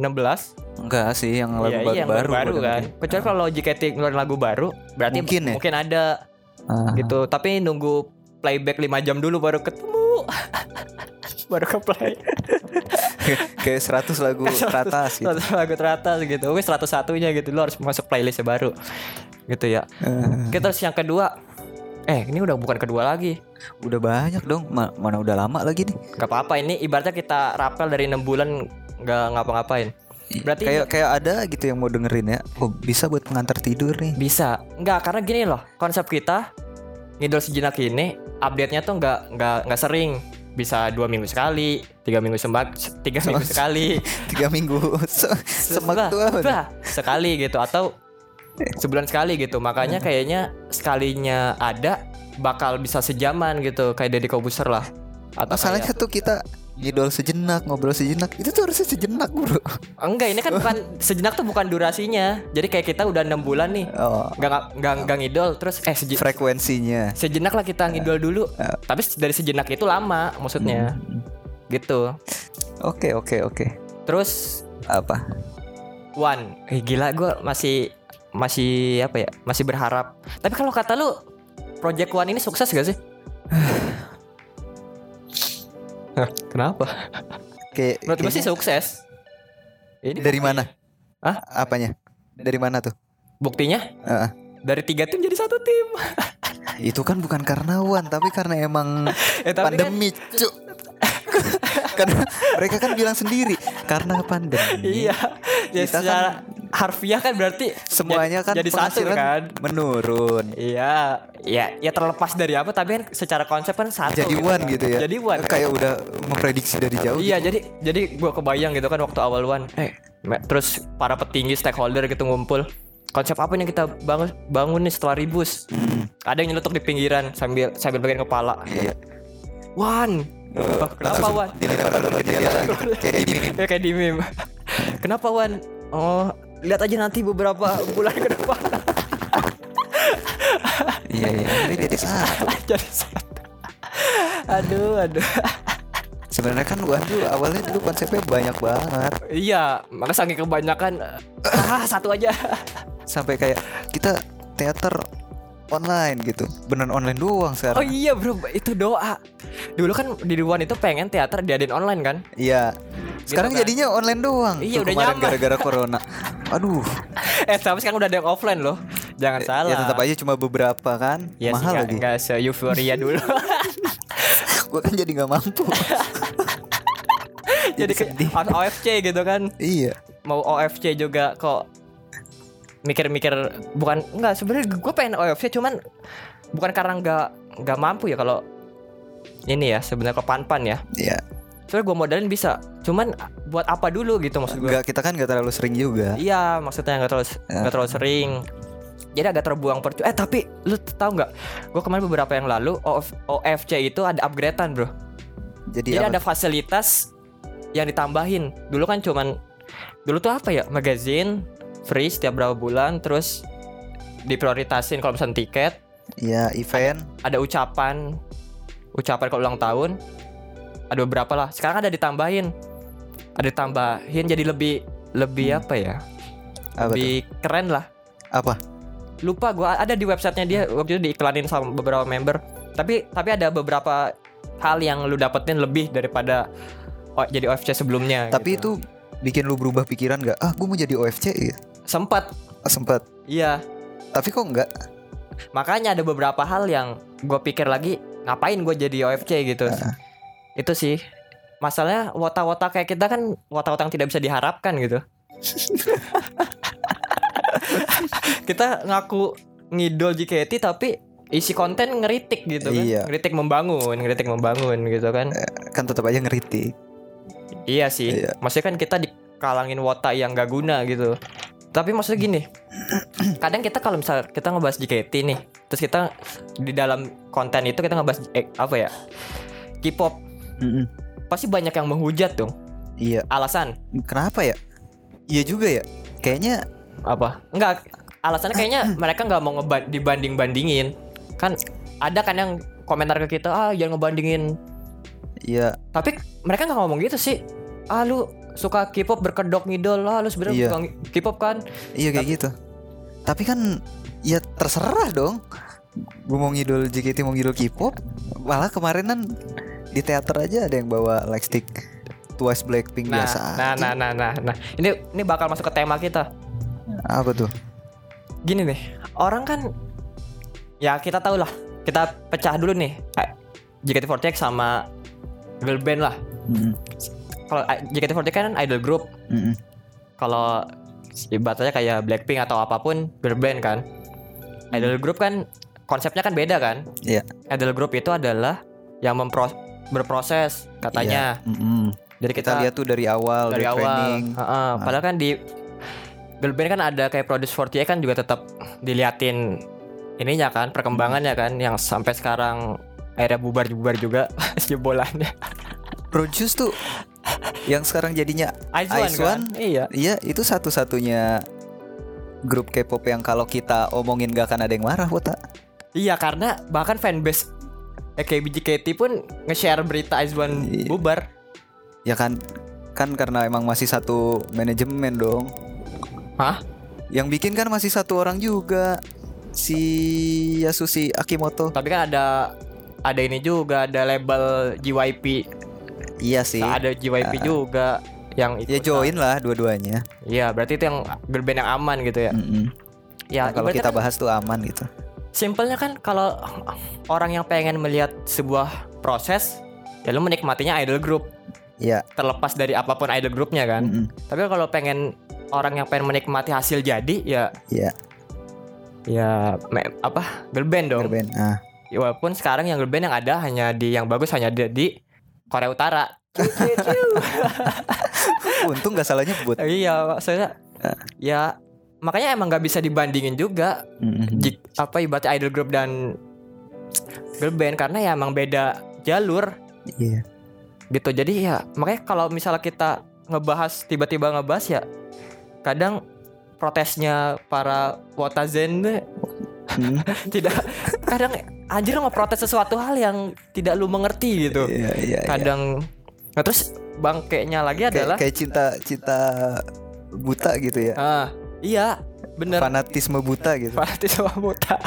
S2: 16
S1: Enggak sih, yang
S2: Iya,
S1: lagu
S2: iya, yang
S1: baru,
S2: baru kan kecuali kalau JKT ngeluarin lagu baru berarti
S1: Mungkin ya. Ah.
S2: mungkin ada gitu tapi nunggu playback 5 jam dulu baru ketemu baru ke play
S1: Kayak 100 lagu teratas gitu.
S2: lagu teratas gitu Oke 101 nya gitu Lo harus masuk playlist baru Gitu ya
S1: Eh,
S2: Oke terus yang kedua Eh ini udah bukan kedua lagi
S1: udah banyak dong, Ma- mana udah lama lagi nih.
S2: Gak apa-apa ini ibaratnya kita rapel dari 6 bulan Gak ngapa-ngapain Berarti
S1: kayak kayak ada gitu yang mau dengerin ya. Oh, bisa buat pengantar tidur nih.
S2: Bisa Enggak karena gini loh Konsep kita Ngidol sejenak ini Update-nya tuh nggak nggak nggak sering bisa dua minggu sekali tiga minggu sembak tiga minggu sekali
S1: Tiga minggu se semak
S2: Bah,
S1: tuh apa nih?
S2: bah, sekali gitu atau sebulan sekali gitu makanya
S1: Nah.
S2: kayaknya sekalinya ada bakal bisa sejaman gitu kayak Deddy Kobuser lah atau
S1: Masalahnya Oh, kan- tuh kita ngidol sejenak, ngobrol sejenak. Itu tuh harusnya sejenak, Bro.
S2: kayak- enggak ini kan bukan sejenak tuh bukan durasinya jadi kayak kita udah enam bulan nih
S1: Oh,
S2: nggak nggak- nggak nggak ngidol terus eh seje-
S1: frekuensinya.
S2: sejenak lah kita
S1: Iya.
S2: ngidol dulu tapi dari sejenak itu lama maksudnya
S1: Hmm.
S2: gitu
S1: Oke oke oke.
S2: terus
S1: Apa?
S2: One, eh, gila gue masih masih apa ya? Masih berharap. Tapi kalau kata lu, Project One ini sukses gak sih? Hah, Kenapa?
S1: Kayak
S2: Menurut gue sih
S1: kayaknya-
S2: sukses. Ini
S1: dari mana?
S2: Hah?
S1: Apanya? Dari mana tuh?
S2: buktinya
S1: Heeh.
S2: dari tiga tim jadi satu tim.
S1: itu kan bukan karena Wan, tapi karena emang
S2: Eh, tapi kan-
S1: pandemi, cu. karena mereka kan bilang sendiri karena pandemi.
S2: iya. Ya
S1: Kita kan-
S2: secara harfiah kan berarti
S1: Semuanya
S2: jadi-
S1: kan
S2: jadi satu
S1: penghasilan
S2: kan.
S1: menurun.
S2: Iya, ya, ya terlepas dari apa, tapi kan secara konsep kan satu.
S1: Jadi oh,
S2: gitu
S1: Wan
S2: kan.
S1: gitu ya.
S2: Jadi one.
S1: Kayak udah memprediksi dari jauh. gitu.
S2: Iya jadi jadi gua kebayang gitu kan waktu awal one eh me- terus para petinggi stakeholder gitu ngumpul konsep apa nih yang kita bangun bangun nih setelah ribus ada yang nyeletuk di pinggiran sambil sambil bagian kepala
S1: Hmm. Iya.
S2: Wan Wah, kenapa Wan
S1: Dilempar dulu dia Kayak di meme.
S2: ya kayak di meme kenapa Wan oh lihat aja nanti beberapa bulan ke depan
S1: Iya iya. Ini titik satu.
S2: jadi satu aduh aduh
S1: Sebenarnya kan gua tuh awalnya dulu konsepnya banyak banget
S2: iya maka saking kebanyakan ah satu aja
S1: sampai kayak kita teater online gitu. Beneran online doang
S2: oh
S1: sekarang.
S2: iya bro itu doa dulu kan di Wan itu pengen teater diadain online kan
S1: Iya. Sekarang
S2: kan.
S1: jadinya online doang. Tuh,
S2: Iya, udah
S1: kemarin
S2: nyaman.
S1: gara-gara corona. Aduh.
S2: eh tapi sekarang udah ada yang offline loh jangan salah
S1: Ya tetap aja cuma beberapa kan.
S2: Iya sih,
S1: Mahal
S2: nggak-
S1: lagi.
S2: nggak se euforia dulu
S1: Gua kan jadi nggak mampu.
S2: jadi kayak
S1: sedih.
S2: harus OFC gitu kan
S1: iya.
S2: mau OFC juga kok mikir-mikir bukan nggak sebenarnya gue pengen OFC cuman bukan karena nggak nggak mampu ya kalau ini ya sebenarnya ke panpan ya
S1: Iya.
S2: soalnya gue modalin bisa cuman buat apa dulu gitu maksud gue
S1: Enggak kita kan nggak terlalu sering juga.
S2: iya maksudnya nggak terlalu
S1: Ya.
S2: nggak terlalu sering jadi agak terbuang percuma eh tapi lu tahu nggak gue kemarin beberapa yang lalu OF- OFC itu ada upgradean bro
S1: Jadi,
S2: jadi
S1: apa-
S2: ada fasilitas yang ditambahin. Dulu kan cuman dulu tuh apa ya? Magazine free setiap berapa bulan terus diprioritasin kalau pesan tiket,
S1: ya event
S2: ada ucapan ucapan kalau ulang tahun. Ada beberapa lah. Sekarang ada ditambahin. Ada ditambahin jadi lebih lebih apa ya?
S1: Hmm. apa tuh?
S2: lebih keren lah.
S1: Apa?
S2: Lupa gua ada di websitenya dia waktu itu diiklanin sama beberapa member. Tapi tapi ada beberapa hal yang lu dapetin lebih daripada o- jadi OFC sebelumnya.
S1: Tapi
S2: gitu.
S1: itu bikin lu berubah pikiran nggak? Ah, gue mau jadi OFC ya.
S2: sempat
S1: Ah, sempat.
S2: iya
S1: Tapi kok nggak?
S2: makanya ada beberapa hal yang gue pikir lagi ngapain gue jadi OFC gitu itu sih masalahnya wota-wota kayak kita kan wota-wota yang tidak bisa diharapkan gitu kita ngaku ngidol JKT tapi isi konten ngeritik gitu kan
S1: Iya.
S2: ngeritik membangun ngeritik membangun gitu kan
S1: Kan tetap aja ngeritik.
S2: Iya sih.
S1: Iya.
S2: Maksudnya kan kita dikalangin wota yang gak guna gitu. Tapi maksudnya gini, kadang kita kalau misal kita ngebahas JKT nih, terus kita di dalam konten itu kita ngebahas eh, apa ya? K-pop
S1: Mm-mm.
S2: pasti banyak yang menghujat dong.
S1: Iya.
S2: Alasan
S1: Kenapa ya? Iya juga ya. Kayaknya
S2: apa? Enggak, alasannya kayaknya mereka nggak mau ngeba- dibanding-bandingin. Kan ada kan yang komentar ke kita, "Ah, jangan ngebandingin
S1: ya
S2: tapi mereka nggak ngomong gitu sih ah lu suka K-pop berkedok ngidol lah lu
S1: Iya.
S2: sebenarnya suka K-pop kan
S1: iya kayak gitu. Tapi kan ya terserah dong. Gue mau ngidol JKT mau ngidol K-pop. Malah kemarinan di teater aja ada yang bawa lightstick Twice Blackpink
S2: nah
S1: biasa. aja.
S2: nah, nah nah nah nah ini ini bakal masuk ke tema kita
S1: Apa tuh?
S2: gini nih orang kan ya kita tahu lah kita pecah dulu nih eh, JKT48 sama girl band lah
S1: Mm-mm.
S2: kalau eh, JKT48 kan idol group
S1: Mm-mm.
S2: kalau ibaratnya kayak Blackpink atau apapun girl band kan idol group kan konsepnya kan beda kan
S1: Iya.
S2: idol group itu adalah yang mempro- berproses katanya
S1: Mm-mm.
S2: jadi
S1: Iya. Kita, lihat tuh dari awal
S2: dari awal
S1: training. Nah.
S2: Heeh, padahal kan di girl band kan ada kayak produce 48 kan juga tetap diliatin ininya kan perkembangannya
S1: Hmm.
S2: kan yang sampai sekarang akhirnya bubar-bubar juga jebolannya
S1: Produce tuh yang sekarang jadinya
S2: Aizwan kan
S1: Aizwan?
S2: iya
S1: Iya itu satu-satunya grup K-pop yang kalau kita omongin gak akan ada yang marah Wota
S2: iya karena bahkan fanbase AKBJKT pun nge-share berita Aizwan
S1: Iya.
S2: bubar
S1: Ya kan Kan karena emang masih satu manajemen dong
S2: hah
S1: Yang bikin kan masih satu orang juga Si Yasushi Akimoto
S2: tapi kan ada ada ini juga ada label JYP
S1: Iya sih
S2: Nah, ada JYP juga yang
S1: Ya
S2: ikut.
S1: join lah dua-duanya
S2: Iya, berarti itu yang girl band yang aman gitu ya.
S1: Mm-mm.
S2: Ya,
S1: Nah, Kalau
S2: ibaratnya
S1: kita
S2: kan,
S1: bahas tuh aman gitu
S2: simpelnya kan kalau orang yang pengen melihat sebuah proses, ya lu menikmatinya idol group
S1: Ya
S2: terlepas dari apapun idol grupnya kan.
S1: mm-mm.
S2: Tapi kalau pengen orang yang pengen menikmati hasil jadi ya
S1: Ya
S2: ya me- apa girl band dong.
S1: girl band. Ah.
S2: Ya, walaupun sekarang yang girl band yang ada hanya di yang bagus hanya ada di Korea Utara.
S1: Untung gak salah nyebut
S2: iya, maksudnya ya makanya emang nggak bisa dibandingin juga
S1: Mm-mm.
S2: jik, apa ibaratnya idol group dan girl band karena ya emang beda jalur
S1: Iya.
S2: gitu jadi ya makanya kalau misalnya kita ngebahas tiba-tiba ngebahas ya kadang protesnya para Wotazen tuh
S1: Hmm.
S2: tidak kadang anjir lu ngeprotes sesuatu hal yang tidak lu mengerti gitu
S1: Iya, iya, iya.
S2: kadang nah terus bangkeknya lagi
S1: Kayak-
S2: adalah
S1: kayak cinta cinta buta gitu ya.
S2: ah iya bener
S1: Fanatisme buta gitu.
S2: fanatisme buta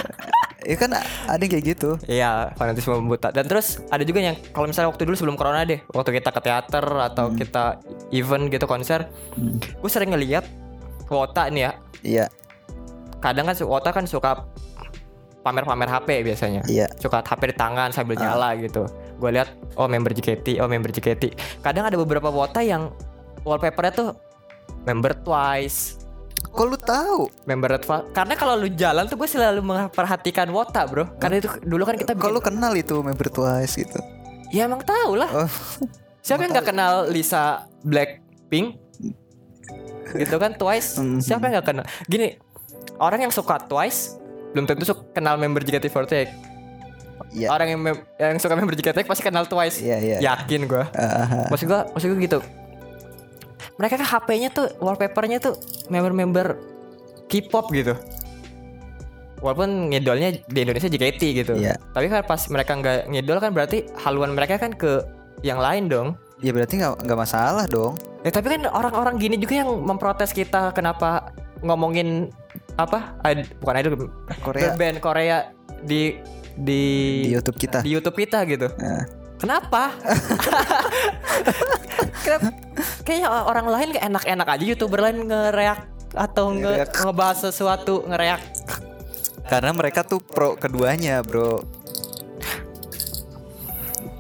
S1: Ya kan a- ada yang kayak gitu.
S2: iya fanatisme buta dan terus ada juga yang kalau misalnya waktu dulu sebelum corona deh waktu kita ke teater atau kita event gitu konser
S1: Mm.
S2: gue sering ngeliat wota nih ya
S1: Iya,
S2: kadang kan su- wota kan suka pamer-pamer HP biasanya
S1: iya.
S2: suka HP di tangan
S1: Ah.
S2: sambil nyala gitu gue lihat oh member JKT oh member JKT kadang ada beberapa wota yang wallpapernya tuh member Twice
S1: Kok lu tahu?
S2: member Red Velvet. karena kalau lu jalan tuh gue selalu memperhatikan wota bro karena itu dulu kan
S1: Kok
S2: kita bikin,
S1: lu kenal itu member Twice gitu?
S2: ya emang tau lah
S1: Oh,
S2: siapa yang nggak kenal Lisa Blackpink gitu kan Twice
S1: Mhm.
S2: siapa yang nggak kenal gini orang yang suka Twice belum tentu suka kenal member JKT48
S1: iya.
S2: orang yang mem- yang suka member JKT pasti kenal Twice
S1: Iya, iya.
S2: yakin gua
S1: Ah,
S2: maksud gua maksud gua gitu mereka kan HP-nya tuh wallpapernya tuh member-member K-pop gitu walaupun ngidolnya di Indonesia JKT gitu
S1: Iya.
S2: tapi kan pas mereka nggak ngidol kan berarti haluan mereka kan ke yang lain dong
S1: Ya berarti nggak nggak masalah dong.
S2: Ya tapi kan orang-orang gini juga yang memprotes kita kenapa ngomongin apa id- bukan idol
S1: Korea
S2: band Korea di di
S1: di YouTube kita.
S2: di YouTube kita gitu.
S1: Nah.
S2: Kenapa? Kenapa? Kayaknya orang lain kayak enak-enak aja youtuber lain ngereak atau nge
S1: Ngereak.
S2: ngebahas sesuatu ngereak.
S1: Karena mereka tuh pro keduanya, bro.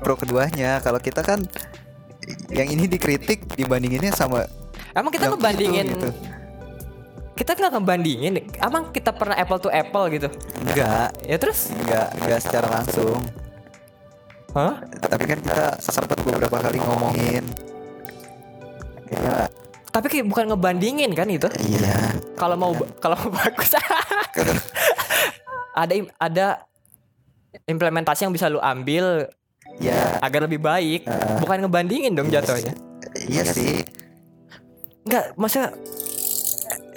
S1: Pro keduanya. Kalau kita kan yang ini dikritik dibandinginnya sama
S2: Emang kita
S1: yang itu
S2: ngebandingin
S1: gitu.
S2: kita nggak ngebandingin. Emang kita pernah apple to apple gitu?
S1: Enggak,
S2: Ya terus?
S1: enggak, enggak secara langsung.
S2: Hah?
S1: Tapi kan kita sempat beberapa kali ngomongin. Ya,
S2: Tapi kayak bukan ngebandingin kan itu?
S1: iya.
S2: kalau mau ba- kalau mau bagus ada im- ada implementasi yang bisa lu ambil
S1: Ya,
S2: agar lebih baik
S1: Ah.
S2: bukan ngebandingin dong jatuhnya
S1: iya sih.
S2: enggak masa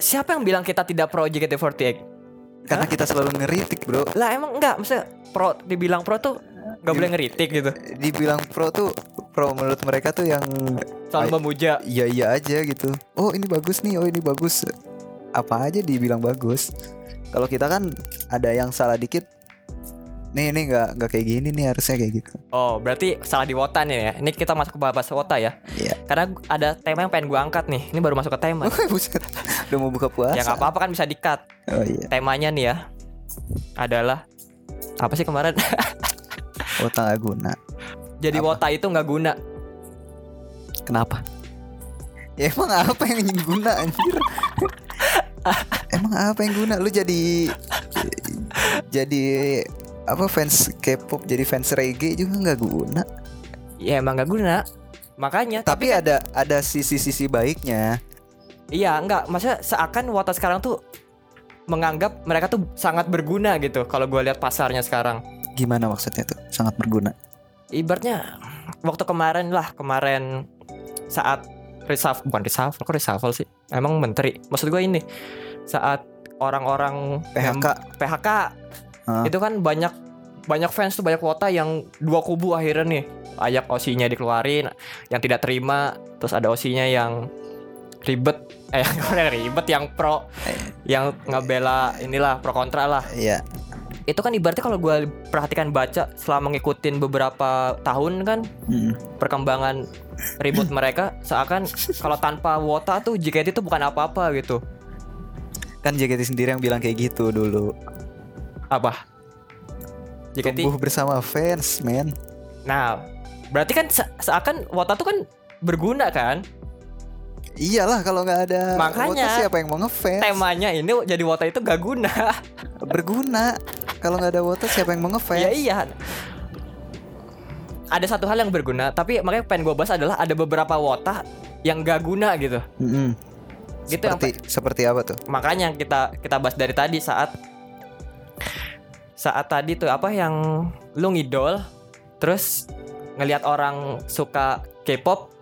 S2: siapa yang bilang kita tidak pro JKT48
S1: Karena kita selalu ngeritik, bro.
S2: lah emang enggak masa pro dibilang pro tuh nggak
S1: Iya.
S2: boleh ngeritik gitu
S1: Dibilang pro tuh pro menurut mereka tuh yang
S2: selalu memuja
S1: iya iya aja gitu oh ini bagus nih oh ini bagus apa aja dibilang bagus kalau kita kan ada yang salah dikit nih nih nggak nggak kayak gini nih harusnya kayak gitu
S2: oh berarti salah di wota nih ya ini kita masuk ke bahas wota ya
S1: Iya.
S2: karena gu- ada tema yang pengen gua angkat nih ini baru masuk ke tema
S1: buset udah mau buka puasa
S2: yang apa apa kan bisa dikat
S1: oh iya
S2: temanya nih ya adalah apa sih kemarin
S1: otak nggak Oh, guna
S2: jadi
S1: Apa?
S2: wota itu nggak guna
S1: kenapa ya, emang apa yang guna anjir emang apa yang guna lu jadi jadi apa fans K-pop jadi fans reggae juga nggak guna
S2: ya emang nggak guna makanya
S1: tapi ada ada sisi-sisi baiknya
S2: iya nggak maksudnya seakan wota sekarang tuh menganggap mereka tuh sangat berguna gitu kalau gue lihat pasarnya sekarang
S1: gimana maksudnya tuh sangat berguna
S2: ibaratnya waktu kemarin lah kemarin saat reshuffle bukan reshuffle kok reshuffle sih emang menteri maksud gue ini saat orang-orang
S1: PHK
S2: PHK
S1: Hah?
S2: itu kan banyak banyak fans tuh banyak wota yang dua kubu akhirnya nih ayak osinya dikeluarin yang tidak terima terus ada osinya yang ribet eh yang ribet yang pro yang ngebela inilah pro kontra lah
S1: ya
S2: itu kan ibaratnya kalau gue perhatikan baca selama ngikutin beberapa tahun kan
S1: Hmm.
S2: perkembangan ribut mereka seakan kalau tanpa wota tuh JKT itu bukan apa-apa gitu
S1: kan JKT sendiri yang bilang kayak gitu dulu
S2: apa JKT
S1: tumbuh bersama fans men
S2: Nah, berarti kan se- seakan Wota tuh kan berguna kan?
S1: iyalah kalau nggak ada
S2: Makanya.
S1: Wota siapa yang mau ngefans
S2: Temanya ini jadi Wota itu gak guna.
S1: berguna kalau nggak ada Wota siapa yang mau
S2: ya
S1: ngefans
S2: iya. Ada satu hal yang berguna, tapi makanya pengen gue bahas adalah ada beberapa Wota yang gak guna gitu.
S1: Mm-mm.
S2: Gitu yang
S1: seperti seperti apa tuh
S2: makanya yang kita kita bahas dari tadi saat saat tadi tuh apa yang lu ngidol terus ngelihat orang suka K-pop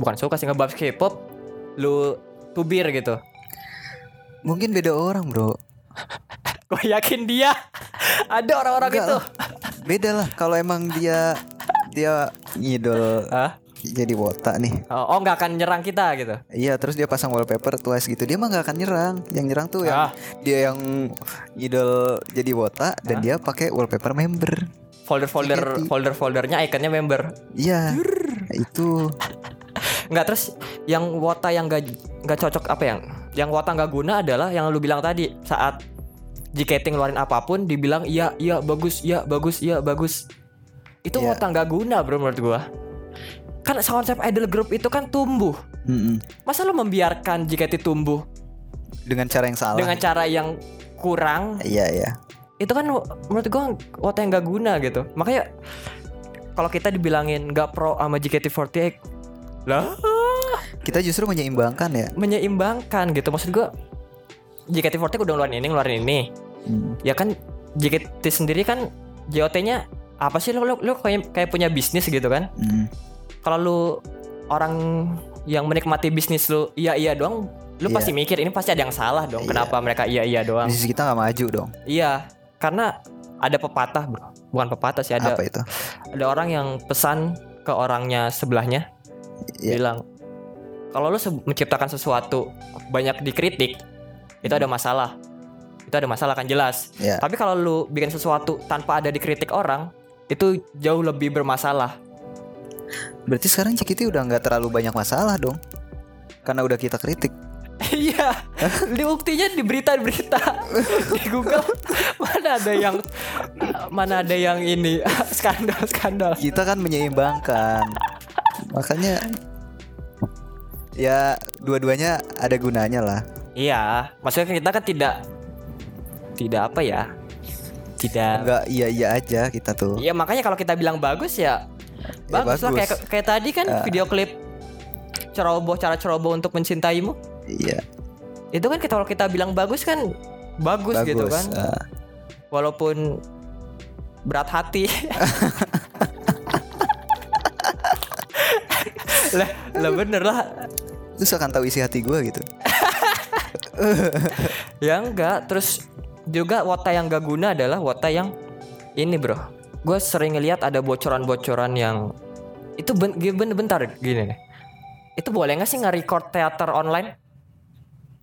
S2: bukan suka sih ngebahas K-pop lu tubir gitu
S1: Mungkin beda orang bro
S2: gue yakin dia ada orang-orang
S1: Enggak
S2: itu
S1: lah. Beda lah Kalau emang dia Dia ngidol
S2: Hah?
S1: Jadi botak nih
S2: oh oh, nggak akan nyerang kita gitu
S1: Iya terus dia pasang wallpaper twice gitu Dia mah gak akan nyerang Yang nyerang tuh ya yang
S2: Ah.
S1: Dia yang Idol jadi wota Dan dia pakai wallpaper member
S2: folder-folder
S1: Security.
S2: folder-foldernya ikonnya member
S1: Iya Itu
S2: nggak terus yang wota yang nggak nggak cocok apa yang yang wota nggak guna adalah yang lu bilang tadi saat JKT ngeluarin apapun dibilang iya iya bagus iya bagus iya bagus itu
S1: Iya.
S2: wota nggak guna bro menurut gua kan konsep idol group itu kan tumbuh
S1: Mm-mm.
S2: masa lu membiarkan JKT tumbuh
S1: Dengan cara yang salah
S2: dengan cara yang kurang
S1: Iya iya
S2: itu kan menurut gua wota yang nggak guna gitu makanya kalau kita dibilangin nggak pro sama JKT48 lah
S1: Kita justru menyeimbangkan ya
S2: menyeimbangkan gitu maksud gua JKT48 udah ngeluarin ini ngeluarin ini
S1: Hmm.
S2: ya kan JKT sendiri kan JOT-nya apa sih lu lu, lu kayak, kayak punya bisnis gitu kan
S1: Mm.
S2: kalau lu orang yang menikmati bisnis lu iya iya doang lu
S1: Iya.
S2: pasti mikir ini pasti ada yang salah dong
S1: Iya.
S2: kenapa mereka iya iya doang
S1: Bisnis kita gak maju dong
S2: iya karena ada pepatah bro bukan pepatah sih ada
S1: Apa itu
S2: ada orang yang pesan ke orangnya sebelahnya
S1: Iya.
S2: bilang kalau lu se- menciptakan sesuatu banyak dikritik itu ada masalah itu ada masalah kan jelas
S1: Iya.
S2: tapi kalau lu bikin sesuatu tanpa ada dikritik orang itu jauh lebih bermasalah
S1: Berarti sekarang JKT udah nggak terlalu banyak masalah dong Karena udah kita kritik
S2: iya di buktinya di berita-berita di Google mana ada yang mana ada yang ini skandal skandal
S1: Kita kan menyeimbangkan Makanya Ya dua-duanya ada gunanya lah
S2: Iya, maksudnya kita kan tidak tidak apa ya? Tidak.
S1: Enggak iya-iya aja kita tuh
S2: Iya, makanya kalau kita bilang bagus ya,
S1: Ya,
S2: bagus,
S1: bagus. Ah.
S2: lah kayak kayak tadi kan video klip ceroboh cara ceroboh untuk mencintaimu.
S1: Iya
S2: Itu kan kita kalau kita bilang bagus kan bagus,
S1: bagus
S2: gitu kan.
S1: Ah,
S2: Walaupun berat hati. lah, lah bener lah
S1: Terus akan tahu isi hati gua gitu
S2: Ya enggak, terus juga wota yang gak guna adalah wota yang ini bro. Gue sering ngeliat ada bocoran-bocoran yang itu ben ben- bentar gini nih. Itu boleh nggak sih nge-record teater online?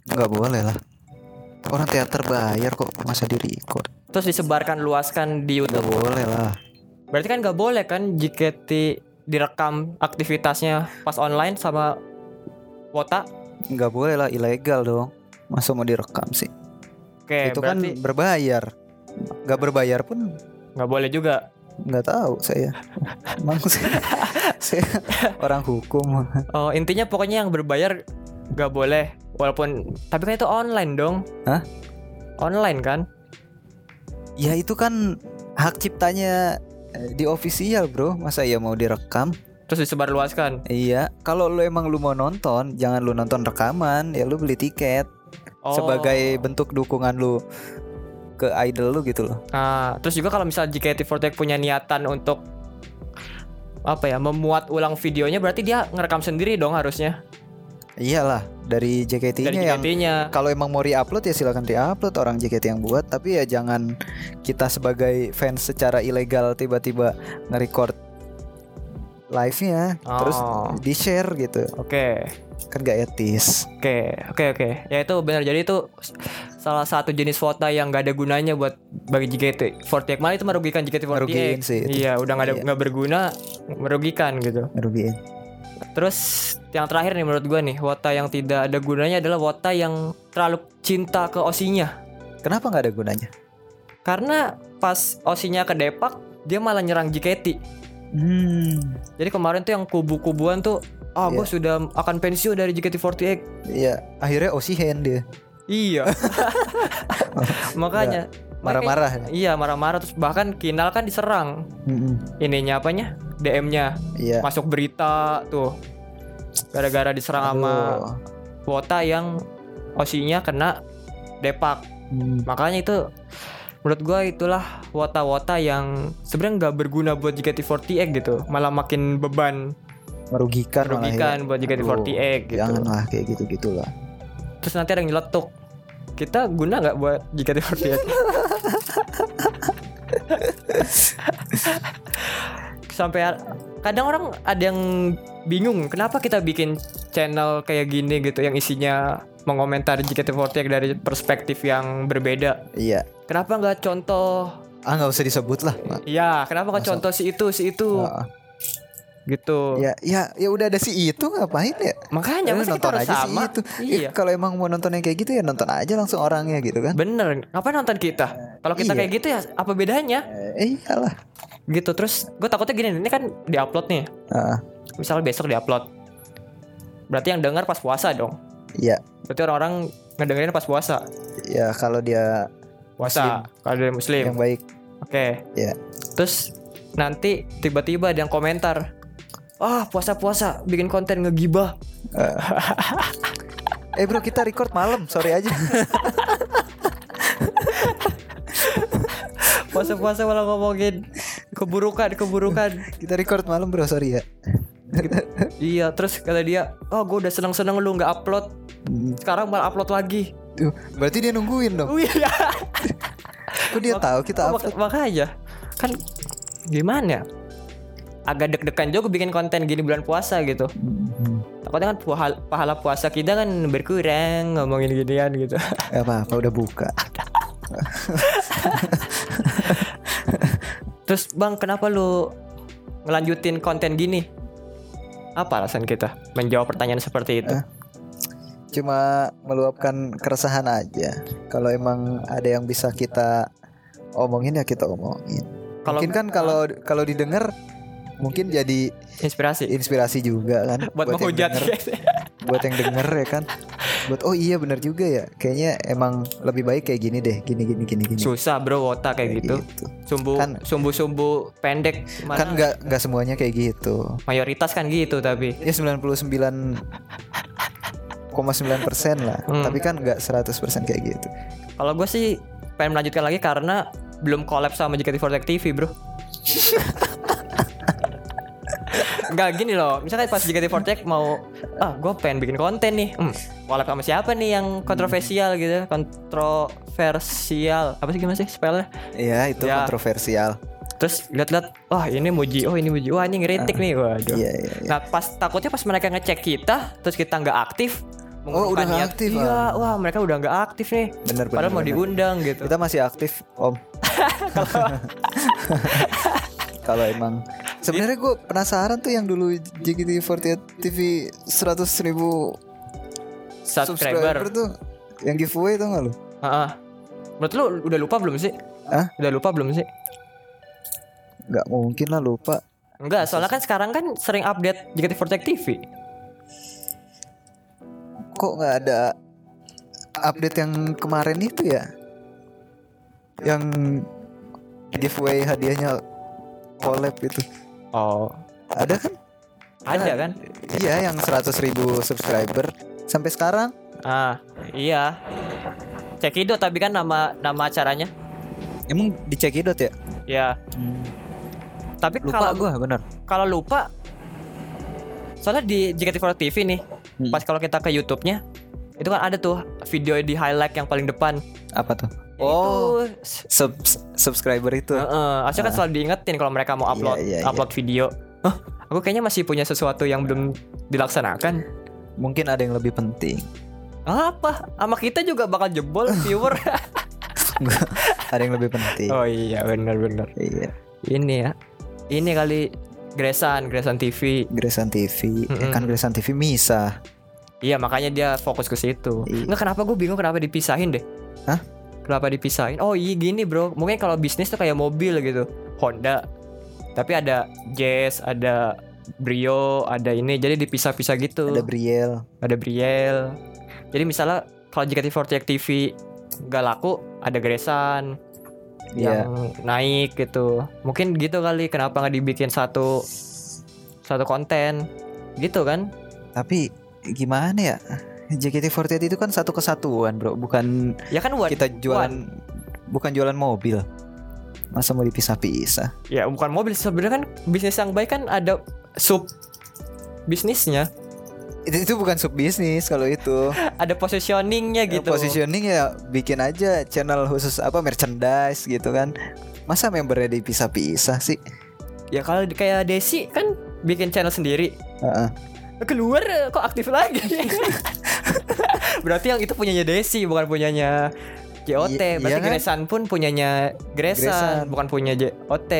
S1: Enggak boleh lah Orang teater bayar kok masa di record
S2: Terus disebarkan luaskan di
S1: Enggak
S2: YouTube.
S1: boleh lah
S2: Berarti kan nggak boleh kan JKT direkam aktivitasnya pas online sama wota?
S1: Enggak boleh lah ilegal dong Masa mau direkam sih
S2: Oke,
S1: Itu
S2: Eh, berarti
S1: kan berbayar Enggak berbayar pun
S2: nggak boleh juga.
S1: nggak tahu saya emang saya, saya orang hukum
S2: Oh, intinya pokoknya yang berbayar nggak boleh. Walaupun tapi kan itu online dong.
S1: Hah?
S2: Online kan?
S1: ya itu kan hak ciptanya eh, di official bro masa ya mau direkam
S2: terus disebarluaskan.
S1: iya kalau lu emang lu mau nonton jangan lu nonton rekaman ya lu beli tiket
S2: Oh.
S1: sebagai bentuk dukungan lu ke idol lu gitu loh
S2: Nah, terus juga kalau misalnya JKT48 punya niatan untuk apa ya memuat ulang videonya berarti dia ngerekam sendiri dong harusnya
S1: iyalah dari
S2: dari
S1: JKT-nya Iya, yang
S2: JKT-nya.
S1: kalau emang mau re-upload ya silakan re-upload orang JKT yang buat tapi ya jangan kita sebagai fans secara ilegal tiba-tiba nge-record live-nya terus
S2: Oh.
S1: di-share gitu
S2: Oke,
S1: kan gak etis
S2: oke, oke, oke. Ya itu benar. Jadi itu s- salah satu jenis wota yang gak ada gunanya buat bagi JKT48. Malah itu merugikan JKT48.
S1: Merugiin sih itu.
S2: Iya, udah nggak ada
S1: Iya.
S2: nggak berguna, merugikan gitu.
S1: ngerugiin
S2: Terus yang terakhir nih menurut gua nih, wota yang tidak ada gunanya adalah wota yang terlalu cinta ke osinya.
S1: kenapa nggak ada gunanya
S2: Karena pas osinya ke Depak, dia malah nyerang JKT.
S1: hmm
S2: Jadi kemarin tuh yang kubu-kubuan tuh, ah
S1: Iya.
S2: gue sudah akan pensiun dari JKT48.
S1: ya akhirnya Osihen dia
S2: Iya. Makanya
S1: marah-marah
S2: Iya, marah-marah terus bahkan Kinal kan diserang
S1: Mm-mm.
S2: ininya apanya? DM-nya.
S1: iya
S2: Masuk berita tuh. Gara-gara diserang sama
S1: Aduh.
S2: Wota yang osinya kena Depak.
S1: Hmm.
S2: Makanya itu menurut gua itulah wota-wota yang sebenarnya nggak berguna buat JKT48 gitu malah makin beban
S1: merugikan malah ya.
S2: merugikan buat JKT48 gitu
S1: janganlah kayak gitu gitulah
S2: terus nanti ada yang nyeletuk kita guna nggak buat JKT48 sampai a- kadang orang ada yang bingung kenapa kita bikin channel kayak gini gitu yang isinya mengomentari JKT48 dari perspektif yang berbeda
S1: iya
S2: kenapa nggak contoh
S1: ah nggak usah disebut lah Mak.
S2: ya kenapa nggak
S1: Masa-
S2: contoh si itu si itu
S1: Ah,
S2: gitu
S1: ya ya ya udah ada si itu ngapain ya
S2: makanya
S1: Udah,
S2: masa kita
S1: nonton
S2: harus
S1: aja sih
S2: Kan sama
S1: itu.
S2: iya
S1: Ya, Kalau emang mau nonton yang kayak gitu ya nonton aja langsung orangnya gitu kan.
S2: bener ngapain nonton kita kalau kita
S1: Iya.
S2: kayak gitu ya apa bedanya
S1: Eh, iyalah.
S2: gitu terus gue takutnya gini ini kan diupload nih
S1: Ah,
S2: misalnya besok diupload berarti yang dengar pas puasa dong
S1: Iya,
S2: berarti orang-orang ngedengerin pas puasa
S1: ya kalau dia
S2: puasa kalau dari muslim
S1: yang baik
S2: oke
S1: Iya.
S2: terus nanti tiba-tiba ada yang komentar ah puasa puasa bikin konten ngegibah
S1: Eh bro kita record malam Sorry aja
S2: puasa puasa malah ngomongin keburukan keburukan
S1: Kita record malam bro sorry ya
S2: iya terus kata dia oh gue udah seneng seneng lu nggak upload
S1: Hmm, Oh.
S2: sekarang malah upload lagi
S1: tuh, Berarti dia nungguin dong
S2: wih ya
S1: Kok dia tahu kita
S2: Oh,
S1: upload
S2: mak- makanya kan gimana ya? agak deg-degan juga bikin konten gini bulan puasa gitu
S1: Hmm,
S2: takutnya kan pahala, pahala puasa kita kan berkurang ngomongin ginian gitu
S1: nggak apa-apa udah buka
S2: terus bang kenapa lu ngelanjutin konten gini apa alasan kita menjawab pertanyaan seperti
S1: Eh.
S2: itu
S1: Cuma meluapkan keresahan aja Kalau emang ada yang bisa kita omongin ya kita omongin
S2: Kalau-
S1: Mungkin kan kalau kalau didengar Mungkin jadi
S2: inspirasi
S1: inspirasi juga kan
S2: buat,
S1: Iya. yang
S2: menghujat ya.
S1: denger. buat yang denger ya kan buat oh iya bener juga ya kayaknya emang lebih baik kayak gini deh gini gini gini gini
S2: susah bro wota kayak gitu sumbu
S1: Kan-
S2: sumbu sumbu pendek
S1: kan
S2: mana
S1: nggak nggak semuanya kayak gitu
S2: mayoritas kan gitu tapi
S1: ya 99,9 persen lah
S2: Hmm.
S1: tapi kan nggak 100 persen kayak gitu
S2: Kalau gue sih pengen melanjutkan lagi karena belum collab sama JKT48 TV bro Enggak gini loh Misalnya pas JKT48 mau Ah gue pengen bikin konten nih hmm, Collab sama siapa nih yang kontroversial
S1: Hmm.
S2: gitu Kontroversial Apa sih gimana sih spellnya
S1: ya itu
S2: Ya.
S1: kontroversial
S2: Terus lihat-lihat Wah ini muji Oh ini muji Wah ini ngeritik nih Waduh
S1: iya iya iya.
S2: Nah pas takutnya pas mereka ngecek kita Terus kita nggak aktif
S1: Oh, udah
S2: mengurungkan
S1: nggak
S2: niat,
S1: aktif,
S2: Iya
S1: ah."
S2: wah mereka udah nggak aktif nih
S1: Bener, bener,
S2: Padahal mau
S1: bener.
S2: diundang gitu
S1: kita masih aktif om kalau emang sebenarnya gue penasaran tuh yang dulu JKT48 TV 100 ribu subscriber
S2: subscriber.
S1: tuh yang giveaway tuh nggak lu?
S2: Heeh. Menurut lu udah lupa belum sih?
S1: Hah?
S2: Udah lupa belum sih?
S1: Nggak mungkin lah lupa.
S2: Enggak, soalnya kan sekarang kan sering update JKT48 TV.
S1: Kok nggak ada update yang kemarin itu ya? Yang giveaway hadiahnya collab itu
S2: Oh,
S1: ada kan?
S2: ada kan?
S1: Iya yang 100 ribu subscriber sampai sekarang
S2: Ah, iya. Cekidot tapi kan nama nama acaranya.
S1: emang dicekidot ya?
S2: Ya. Tapi
S1: Lupa
S2: kalau
S1: gue bener.
S2: kalau lupa soalnya di JKT48 TV nih,
S1: Hmm.
S2: pas kalau kita ke YouTube-nya itu kan ada tuh video di highlight yang paling depan.
S1: Apa tuh?
S2: Ya
S1: Oh.
S2: Itu
S1: subs- subscriber itu.
S2: Heeh, harusnya kan selalu diingetin kalau mereka mau
S1: Ah.
S2: upload
S1: Iya, iya,
S2: upload video. Hah, aku kayaknya masih punya sesuatu yang belum dilaksanakan.
S1: Mungkin ada yang lebih penting.
S2: Apa? Sama kita juga bakal jebol viewer.
S1: ada yang lebih penting.
S2: oh iya, benar-benar.
S1: Iya.
S2: Ini ya. Ini kali Gresan, Gresan TV.
S1: Gresan TV, Eh,
S2: Mm-mm.
S1: kan Gresan TV misah.
S2: Iya, makanya dia fokus ke situ.
S1: Iya.
S2: Enggak kenapa gue bingung kenapa dipisahin deh.
S1: Hah?
S2: Kenapa dipisahin? Oh, iya gini, Bro. Mungkin kalau bisnis tuh kayak mobil gitu. Honda. Tapi ada Jazz, ada Brio, ada ini. Jadi dipisah-pisah gitu.
S1: Ada Briel.
S2: ada Briel. Jadi misalnya kalau JKT48 TV nggak laku, ada Gresan
S1: Iya.
S2: yang naik gitu. Mungkin gitu kali kenapa nggak dibikin satu satu konten gitu kan?
S1: Tapi gimana ya? JKT48 itu kan satu kesatuan, Bro. Bukan
S2: Ya kan buat
S1: kita jualan bukan jualan mobil masa mau dipisah-pisah
S2: ya bukan mobil sebenarnya kan bisnis yang baik kan ada sub bisnisnya
S1: itu, itu bukan sub bisnis kalau itu
S2: ada positioningnya gitu
S1: positioning ya bikin aja channel khusus apa merchandise gitu kan masa membernya dipisah-pisah sih
S2: ya kalau di- kayak Desi kan bikin channel sendiri
S1: Heeh.
S2: keluar eh, kok aktif lagi berarti yang itu punyanya Desi bukan punyanya JOT
S1: Iya-
S2: berarti
S1: iya kan?
S2: Gresan pun punyanya Gresan,
S1: Gresan.
S2: bukan punya JOT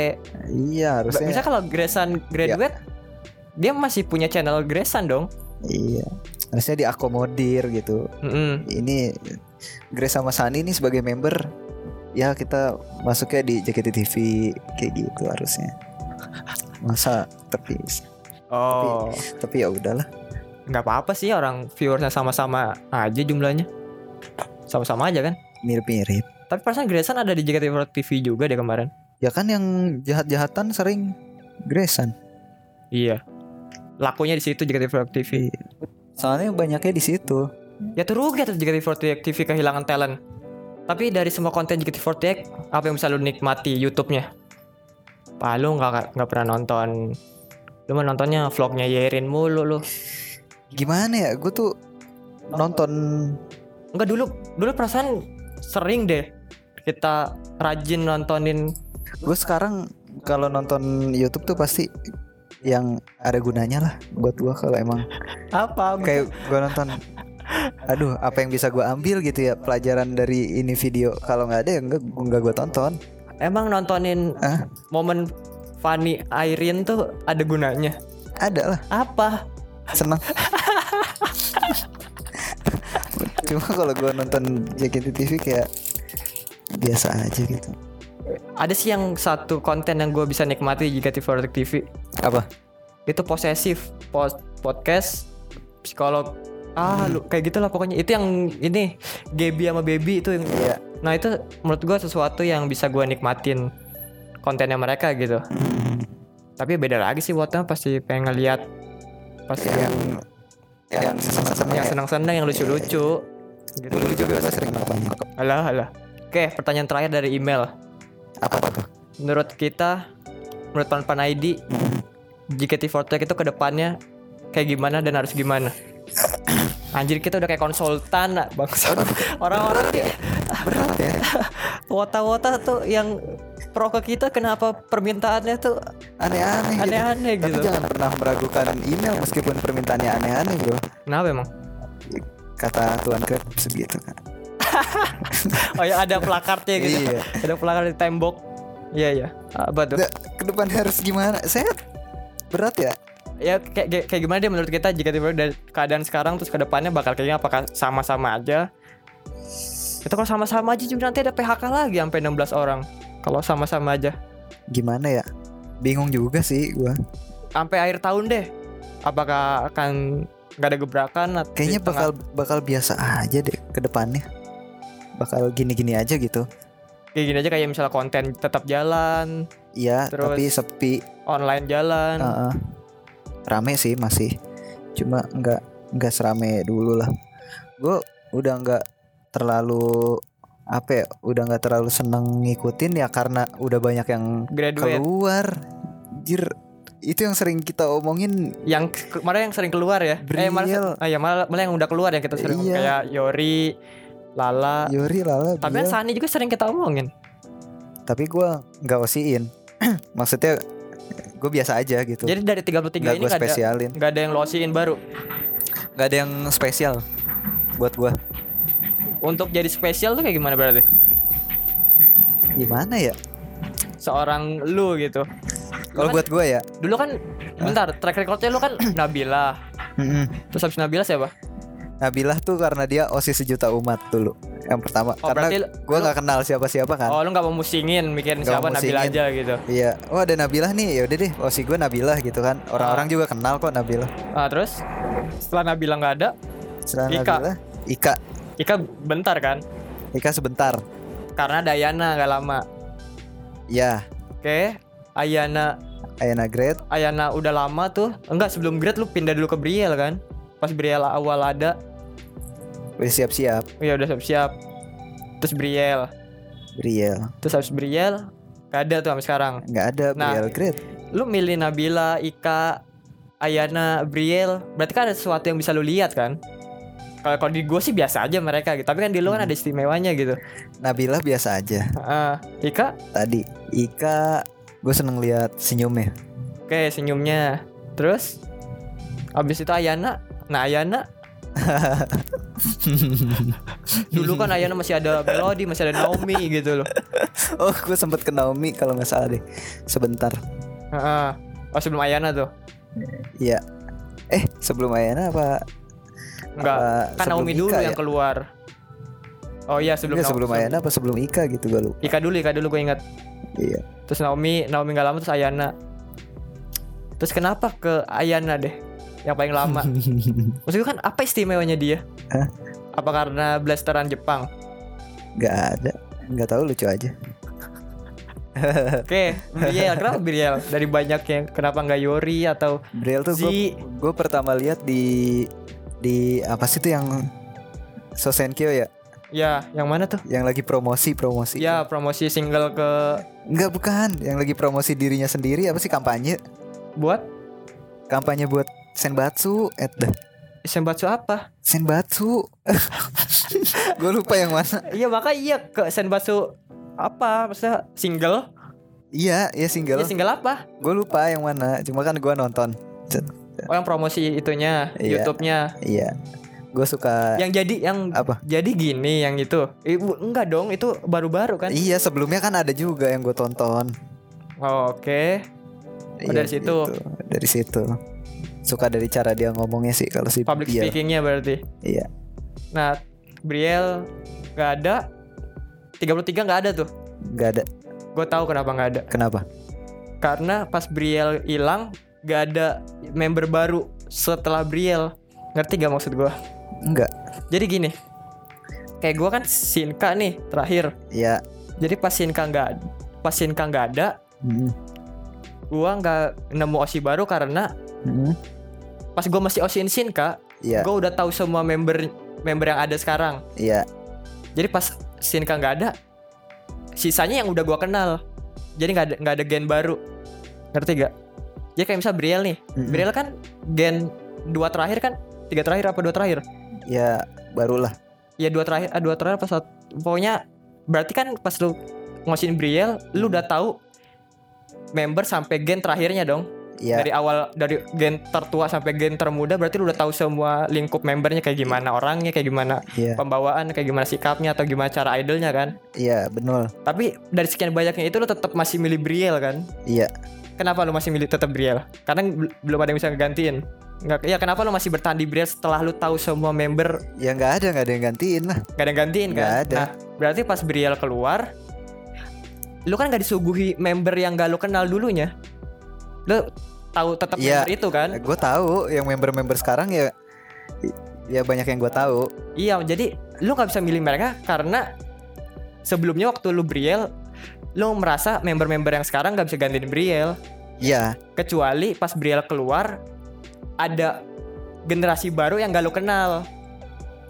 S1: iya
S2: Ba-
S1: harusnya
S2: Misalnya kalau
S1: Ya.
S2: Gresan graduate dia masih punya channel Gresan dong
S1: iya harusnya diakomodir gitu
S2: Mm-mm.
S1: ini Grace sama Sani nih sebagai member ya kita masuknya di JKT kayak gitu harusnya masa terpisah
S2: oh
S1: tapi ya udahlah
S2: nggak apa-apa sih orang viewersnya sama-sama aja jumlahnya sama-sama aja kan
S1: mirip-mirip
S2: tapi perasaan Gresan ada di JKT48 TV juga deh kemarin
S1: ya kan yang jahat-jahatan sering Gresan
S2: iya lakunya di situ JKT48 TV
S1: soalnya banyaknya di situ
S2: ya tuh rugi atau JKT48 TV kehilangan talent tapi dari semua konten JKT48 apa yang bisa lu nikmati YouTube-nya Pak lu nggak nggak pernah nonton lu mah nontonnya vlognya Yerin mulu lu
S1: gimana ya gue tuh nonton
S2: Enggak dulu dulu perasaan sering deh kita rajin nontonin
S1: gue sekarang kalau nonton YouTube tuh pasti yang ada gunanya lah buat gua kalau emang
S2: apa
S1: kayak gue nonton aduh apa yang bisa gue ambil gitu ya pelajaran dari ini video kalau nggak ada ya nggak nggak gue tonton
S2: emang nontonin
S1: ah
S2: momen Fanny Irene tuh ada gunanya
S1: ada lah
S2: apa
S1: senang cuma kalau gue nonton JKT TV kayak biasa aja gitu
S2: ada sih yang satu konten yang gue bisa nikmati jika TV TV
S1: apa
S2: itu posesif Pos- podcast psikolog ah lu kayak gitulah pokoknya itu yang ini Gaby sama Baby itu yang
S1: Iya.
S2: nah itu menurut gua sesuatu yang bisa gua nikmatin kontennya mereka gitu tapi beda lagi sih buatnya pasti pengen ngeliat pasti yang
S1: yang senang-senang
S2: yang senang-senang yang lucu-lucu gitu
S1: dulu juga saya sering nonton
S2: alah alah oke pertanyaan terakhir dari email
S1: apa tuh
S2: menurut kita menurut Panpan ID JKT48 itu kedepannya kayak gimana dan harus gimana anjir kita udah kayak konsultan lah, bangsa orang-orang nih
S1: berat ya
S2: wota-wota tuh yang pro ke kita kenapa permintaannya tuh
S1: aneh-aneh gitu.
S2: Aneh-aneh
S1: tapi
S2: gitu.
S1: jangan pernah meragukan email meskipun permintaannya aneh-aneh bro
S2: kenapa emang
S1: kata Tuan Krep segitu kan
S2: oh ya ada plakartnya gitu
S1: Iya.
S2: ada plakar di tembok iya iya apa tuh
S1: Nggak, ke depan harus gimana? Saya berat ya?
S2: ya kayak, kayak, kayak gimana deh menurut kita jika tiba dari keadaan sekarang terus ke depannya bakal kayaknya apakah sama-sama aja itu kalau sama-sama aja juga nanti ada PHK lagi sampai 16 orang kalau sama-sama aja
S1: Gimana ya? Bingung juga sih gua.
S2: sampai akhir tahun deh apakah akan nggak ada gebrakan atau di
S1: Kayaknya
S2: tengah-
S1: bakal bakal biasa aja deh ke depannya. Bakal gini-gini aja gitu.
S2: kayak gini aja kayak misalnya konten tetap jalan
S1: Iya,
S2: Terus-
S1: tapi sepi.
S2: online jalan
S1: Heeh. Rame sih masih. Cuma nggak nggak serame dulu lah. Gue udah nggak terlalu apa ya, udah nggak terlalu seneng ngikutin ya karena udah banyak yang
S2: graduate
S1: keluar. Jir, itu yang sering kita omongin
S2: yang ke- kemarin yang sering keluar ya eh
S1: Bril.
S2: malah, ah, ya, malah, malah yang udah keluar yang kita sering
S1: Iya.
S2: kayak Yori Lala
S1: Yuri Lala
S2: tapi
S1: Biel.
S2: kan Sani juga sering kita omongin
S1: tapi gua nggak osiin maksudnya gue biasa aja gitu
S2: Jadi dari 33
S1: nggak
S2: ini
S1: gue
S2: gak ada,
S1: spesialin
S2: nggak ada yang losiin baru
S1: nggak ada yang spesial buat gua
S2: Untuk jadi spesial tuh kayak gimana berarti?
S1: gimana ya
S2: Seorang lu gitu
S1: kalau
S2: kan-
S1: buat gua ya
S2: Dulu kan Bentar track recordnya lu kan Nabila
S1: mm-mm.
S2: Terus habis Nabila siapa?
S1: Nabilah tuh karena dia osis sejuta umat dulu yang pertama
S2: Oh,
S1: karena
S2: berarti lu-
S1: gua nggak kenal siapa-siapa kan
S2: Oh lu gak mau musingin mikirin
S1: Nggak
S2: siapa
S1: mau
S2: Nabila
S1: musingin.
S2: aja gitu
S1: Iya, oh ada Nabilah nih, ya udah deh, osi gua Nabilah gitu kan. Orang-orang
S2: Ah.
S1: juga kenal kok Nabilah.
S2: nah, Terus setelah Nabila gak ada
S1: Selain
S2: Ika.
S1: Nabilah, Ika,
S2: Ika bentar kan
S1: Ika sebentar.
S2: Karena Dayana gak lama
S1: Ya,
S2: Oke Ayana
S1: Ayana Great,
S2: Ayana udah lama tuh Enggak sebelum grade lu pindah dulu ke Briel kan Pas Briel awal ada
S1: udah siap-siap.
S2: Ya udah siap-siap Terus Briel
S1: Riel
S2: terus habis Briel gak ada tuh sampai sekarang
S1: nggak ada
S2: Nah.
S1: Riel Great
S2: lu milih Nabila Ika Ayana Briel berarti kan ada sesuatu yang bisa lu lihat kan kalau kalau di gue sih biasa aja mereka gitu tapi kan di lu
S1: Hmm.
S2: kan ada istimewanya gitu
S1: Nabila biasa aja
S2: Heeh. Ika
S1: tadi Ika gue seneng lihat senyumnya
S2: oke senyumnya terus abis itu Ayana nah Ayana dulu kan Ayana masih ada Melody masih ada Naomi gitu loh
S1: oh gue sempet ke Naomi kalau nggak salah deh sebentar
S2: Heeh. oh sebelum Ayana tuh
S1: Iya eh sebelum Ayana apa
S2: enggak
S1: apa
S2: kan
S1: sebelum
S2: Naomi dulu
S1: Ika
S2: yang
S1: ya?
S2: keluar oh iya sebelum
S1: Nggak,
S2: Naomi-
S1: sebelum Ayana apa sebelum Ika gitu gue lupa
S2: Ika dulu Ika dulu gue ingat
S1: iya
S2: terus Naomi Naomi gak lama terus Ayana terus kenapa ke Ayana deh yang paling lama maksud gue kan apa istimewanya dia
S1: Hah?
S2: apa karena blasteran Jepang
S1: nggak ada nggak tahu lucu aja
S2: oke Briel kenapa Briel dari banyak yang kenapa nggak Yori atau
S1: Briel tuh
S2: Zi.
S1: gue pertama lihat di di apa sih tuh yang Sosenkyo ya
S2: ya yang mana tuh
S1: yang lagi promosi promosi
S2: ya promosi single ke
S1: nggak bukan yang lagi promosi dirinya sendiri apa sih kampanye
S2: buat
S1: kampanye buat Senbatsu eh dah.
S2: Senbatsu apa
S1: Senbatsu gue lupa yang mana
S2: iya maka iya ke Senbatsu apa maksudnya single
S1: iya iya
S2: ya
S1: single
S2: single apa
S1: gue lupa yang mana cuma kan gue nonton Cet.
S2: oh yang promosi itunya
S1: Iya.
S2: YouTube-nya
S1: iya gue suka
S2: yang jadi yang
S1: apa
S2: Jadi gini yang itu Ibu enggak dong itu baru-baru kan
S1: iya sebelumnya kan ada juga yang gue tonton
S2: oh, Oke Oh, dari situ.
S1: gitu. dari situ suka dari cara dia ngomongnya sih kalau si
S2: Public
S1: Biel.
S2: speakingnya berarti
S1: iya
S2: Nah Briel nggak ada 33 nggak ada tuh
S1: nggak ada
S2: Gue tahu kenapa nggak ada
S1: kenapa
S2: Karena pas Briel hilang nggak ada member baru setelah Briel Ngerti gak maksud gue?
S1: nggak
S2: Jadi gini Kayak gue kan Sinka nih terakhir
S1: ya
S2: Jadi pas Sinka nggak Pas Sinka nggak ada
S1: Mm,
S2: Gue nggak nemu Osi baru karena
S1: mm,
S2: Pas gue masih Osin Sinka
S1: iya
S2: gue udah tahu semua member member yang ada sekarang
S1: iya
S2: jadi pas Shinka nggak ada sisanya yang udah gua kenal jadi nggak ada nggak ada gen baru ngerti gak jadi kayak misal Briel nih
S1: Mm-mm.
S2: Briel kan gen dua terakhir kan tiga terakhir apa dua terakhir
S1: ya barulah
S2: ya dua terakhir ah, dua terakhir pas pokoknya berarti kan pas lu ngosin Briel lu udah tahu member sampai gen terakhirnya dong
S1: ya
S2: dari awal dari gen tertua sampai gen termuda berarti lu udah tahu semua lingkup membernya kayak gimana orangnya kayak gimana
S1: iya
S2: pembawaan kayak gimana sikapnya atau gimana cara idolnya kan
S1: iya benar
S2: tapi dari sekian banyaknya itu lo tetap masih milih Briel kan
S1: iya
S2: kenapa lo masih milih tetap Briel karena bel- belum ada yang bisa ngegantiin nggak ya kenapa lo masih bertahan di Briel setelah lo tahu semua member
S1: ya nggak ada nggak ada yang gantiin lah
S2: gak ada yang gantiin kan
S1: Nggak ada.
S2: nah berarti pas Briel keluar lo kan gak disuguhi member yang gak lo kenal dulunya lo tahu tetap
S1: Iya.
S2: member itu kan
S1: gue tahu yang member-member sekarang ya ya banyak yang gue tahu
S2: Iya, jadi lu nggak bisa milih mereka karena sebelumnya waktu lu Briel, lu merasa member-member yang sekarang nggak bisa gantiin Briel.
S1: iya
S2: Kecuali pas Briel keluar, ada generasi baru yang gak lu kenal.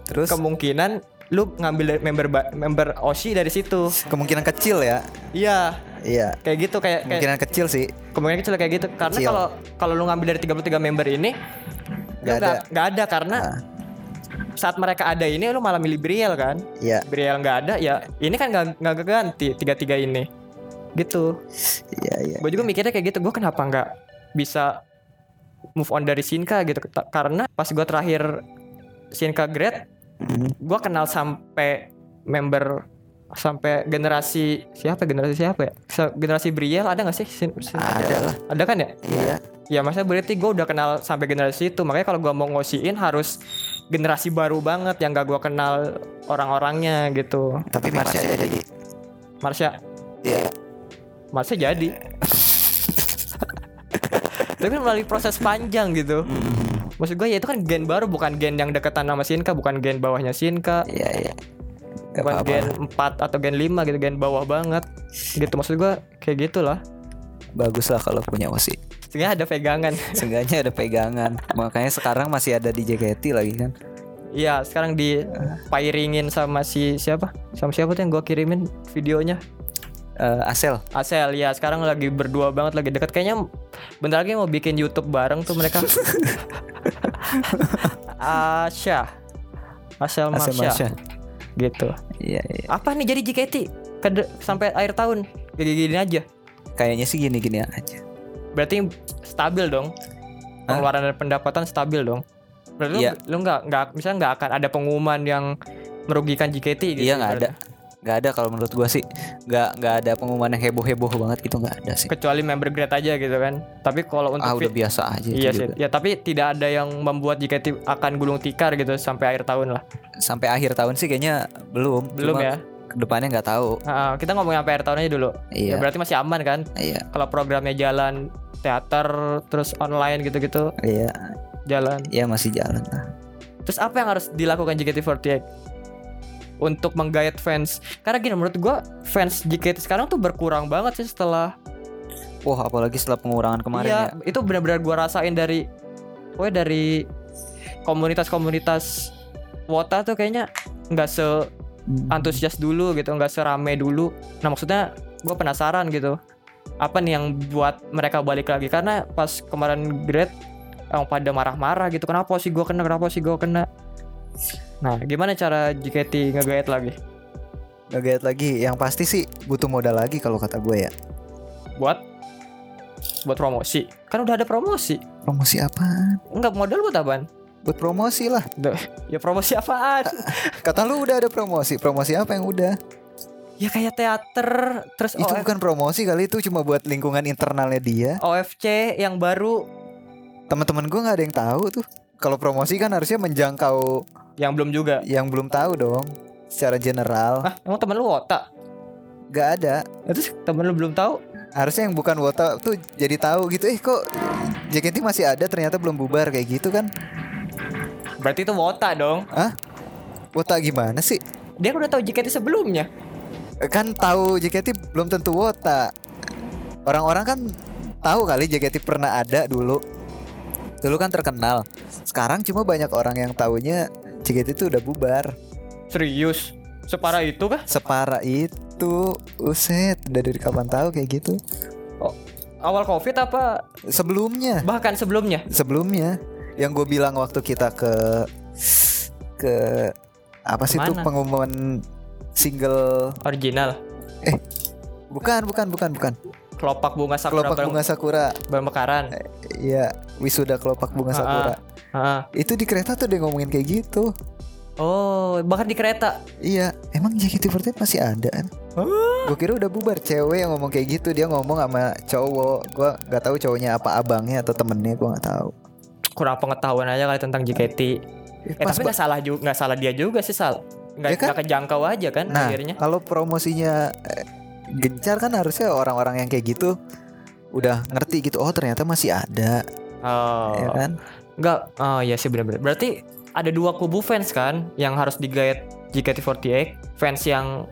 S1: terus
S2: Kemungkinan lu ngambil dari member ba- member Oshi dari situ.
S1: kemungkinan kecil ya
S2: Iya,
S1: iya
S2: kayak gitu kayak, kayak
S1: kemungkinan kecil sih
S2: kemungkinan kecil kayak gitu. Karena
S1: Kecil.
S2: kalau kalau lu ngambil dari 33 member ini
S1: Nggak
S2: nggak ada. Nah. Gak ada karena
S1: Ah.
S2: saat mereka ada ini lu malah milih Briel kan.
S1: iya
S2: Briel nggak ada ya ini kan nggak nggak keganti tiga tiga ini gitu
S1: iya iya
S2: gue juga mikirnya kayak gitu gue kenapa nggak bisa move on dari Shinka gitu Ta- karena pas gue terakhir Shinka Great
S1: Mm,
S2: gue kenal sampai member sampai generasi siapa generasi siapa ya Se- generasi Briel ada nggak sih Shin- Shin-
S1: Ada lah.
S2: ada kan ya
S1: iya
S2: ya maksudnya berarti gue udah kenal sampai generasi itu makanya kalau gue mau ngosiin harus generasi baru banget yang gak gue kenal orang-orangnya gitu
S1: tapi Marsha ya jadi
S2: Marsha
S1: iya
S2: Marsha jadi tapi melalui proses panjang gitu maksud gue ya itu kan gen baru bukan gen yang deketan sama Shinka bukan gen bawahnya Shinka
S1: iya iya Nggak
S2: bukan
S1: apa-apa
S2: gen 4 atau gen 5 gitu gen bawah banget gitu maksud gue kayak gitulah
S1: bagus lah kalau punya Osi
S2: sehingga ada pegangan
S1: Seenggaknya ada pegangan Makanya sekarang masih ada di JKT lagi kan
S2: Iya, sekarang di pairingin sama si siapa? Sama siapa tuh yang gua kirimin videonya?
S1: Eh, Asel
S2: Asel ya, sekarang lagi berdua banget lagi dekat kayaknya bentar lagi mau bikin YouTube bareng tuh mereka. Asya.
S1: Asel
S2: Asel
S1: Marsha.
S2: Marsha. Gitu.
S1: Iya iya.
S2: Apa nih jadi JKT? Kede- sampai akhir tahun. Gini-gini aja.
S1: Kayaknya sih gini-gini aja.
S2: Berarti stabil dong. Pengeluaran dan pendapatan stabil dong. Berarti lu-
S1: Iya.
S2: lu, nggak nggak misalnya nggak akan ada pengumuman yang merugikan JKT gitu.
S1: Iya nggak ada.
S2: ibaratnya.
S1: Nggak ada kalau menurut gua sih. Nggak nggak ada pengumuman yang heboh-heboh banget gitu nggak ada sih.
S2: Kecuali member grade aja gitu kan. Tapi kalau untuk
S1: Ah udah
S2: fit-
S1: biasa aja itu
S2: Iya sih.
S1: juga.
S2: Ya tapi tidak ada yang membuat JKT akan gulung tikar gitu sampai akhir tahun lah.
S1: Sampai akhir tahun sih kayaknya belum.
S2: Belum
S1: Cuma
S2: ya.
S1: Kedepannya nggak tahu.
S2: Ah, ah, kita ngomongin sampai akhir tahun aja dulu. Ya,
S1: Iya.
S2: berarti masih aman kan?
S1: Iya
S2: Kalau programnya jalan teater terus online gitu-gitu
S1: iya
S2: jalan.
S1: iya masih jalan lah.
S2: Terus apa yang harus dilakukan JKT48 untuk menggait fans? Karena gini menurut gua fans JKT sekarang tuh berkurang banget sih setelah
S1: Wah apalagi setelah pengurangan kemarin
S2: Iya,
S1: ya.
S2: itu benar-benar gua rasain dari pokoknya dari komunitas-komunitas Wota tuh kayaknya nggak se
S1: Hmm.
S2: antusias dulu gitu, nggak serame dulu. Nah, maksudnya gua penasaran gitu. Apa nih yang buat mereka balik lagi? Karena pas kemarin grade yang pada marah-marah gitu. Kenapa sih gua kena? Kenapa sih gua kena? Nah, gimana cara JKT ngegait lagi?
S1: Ngegait lagi. Yang pasti sih butuh modal lagi kalau kata gue ya.
S2: Buat buat promosi. Kan udah ada promosi.
S1: Promosi apaan?
S2: Enggak modal buat apaan?
S1: Buat promosi lah.
S2: Ya promosi apaan?
S1: Kata lu udah ada promosi. Promosi apa yang udah?
S2: ya kayak teater terus
S1: itu
S2: OF-
S1: bukan promosi kali itu cuma buat lingkungan internalnya dia.
S2: OFC yang baru
S1: Teman-teman gue nggak ada yang tahu tuh. Kalau promosi kan harusnya menjangkau
S2: yang belum juga.
S1: yang belum tahu dong. Secara general
S2: Ah, emang temen lu Wota?
S1: nggak ada.
S2: Ya, Terus temen lu belum tahu?
S1: Harusnya yang bukan wota tuh jadi tahu gitu. Eh kok JKT masih ada ternyata belum bubar kayak gitu kan?
S2: Berarti itu Wota dong.
S1: Hah? Wota gimana sih?
S2: Dia kan udah tahu JKT sebelumnya.
S1: kan tahu JKT belum tentu wota. Orang-orang kan tahu kali JKT pernah ada dulu. Dulu kan terkenal. Sekarang cuma banyak orang yang tahunya JKT itu udah bubar.
S2: Serius? Separah itu kah?
S1: Separah itu. Uset, udah dari kapan tahu kayak gitu?
S2: Oh, awal Covid apa
S1: Sebelumnya,
S2: bahkan sebelumnya?
S1: sebelumnya yang gue bilang waktu kita ke ke apa sih tuh
S2: Kemana?
S1: pengumuman single
S2: Original.
S1: bukan bukan bukan bukan
S2: Kelopak bunga sakura
S1: kelopak bunga sakura
S2: bermekaran.
S1: Iya, wisuda kelopak bunga sakura.
S2: Ah.
S1: Itu di kereta tuh dia ngomongin kayak gitu.
S2: Oh, bahkan di kereta.
S1: Iya, emang JKT48 masih ada kan? Gue kira udah bubar cewek yang ngomong kayak gitu dia ngomong sama cowok. Gua nggak tahu cowoknya apa abangnya atau temennya gua nggak tahu.
S2: Kurang pengetahuan aja kali tentang JKT.
S1: Eh,
S2: Eh,
S1: pas
S2: tapi
S1: ba-
S2: nggak salah juga, nggak salah dia juga sih Sal. Nggak
S1: Ya kan?
S2: nggak kejangkau aja kan
S1: nah
S2: akhirnya.
S1: kalau promosinya eh, gencar kan harusnya orang-orang yang kayak gitu udah ngerti gitu. Oh ternyata masih ada,
S2: Oh.
S1: ya kan?
S2: Enggak, oh iya sih benar-benar. Berarti ada dua kubu fans kan yang harus digayat JKT48, fans yang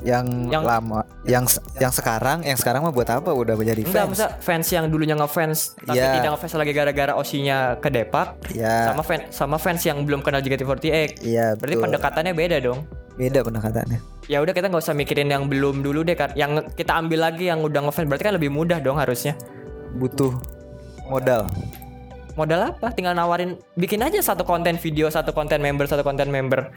S1: Yang,
S2: Yang-
S1: lama, yang se- yang sekarang, yang sekarang mah buat apa udah menjadi fans?
S2: enggak masa fans yang dulunya ngefans tapi
S1: Iya.
S2: tidak ngefans lagi gara-gara osinya ke Depak
S1: Ya,
S2: sama fans sama fans yang belum kenal JKT48.
S1: iya.
S2: Berarti
S1: betul.
S2: pendekatannya beda dong.
S1: beda pendekatannya.
S2: Ya udah kita nggak usah mikirin yang belum dulu deh kan. Yang kita ambil lagi yang udah ngefans berarti kan lebih mudah dong harusnya.
S1: butuh modal
S2: Modal apa? Tinggal nawarin bikin aja satu konten video, satu konten member, satu konten member.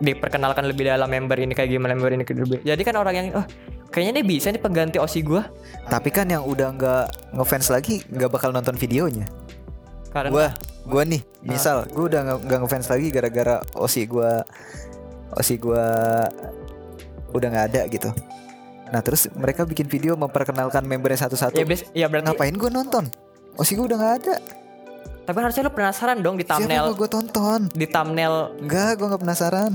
S2: Diperkenalkan lebih dalam member ini kayak gimana member ini kayak gimana. Jadi kan orang yang oh, kayaknya dia bisa nih pengganti Osi gua.
S1: tapi kan yang udah nggak ngefans lagi nggak bakal nonton videonya
S2: Karena
S1: gua gua nih
S2: Ah.
S1: misal gua udah nggak- nggak ngefans lagi gara-gara osi gua osi gua udah nggak ada gitu nah terus mereka bikin video memperkenalkan membernya satu-satu
S2: ya, bias- ya berarti
S1: ngapain gua nonton osi gua udah nggak ada
S2: tapi harusnya lu penasaran dong di
S1: siapa
S2: thumbnail
S1: mau gua tonton
S2: di thumbnail
S1: Enggak, gua nggak penasaran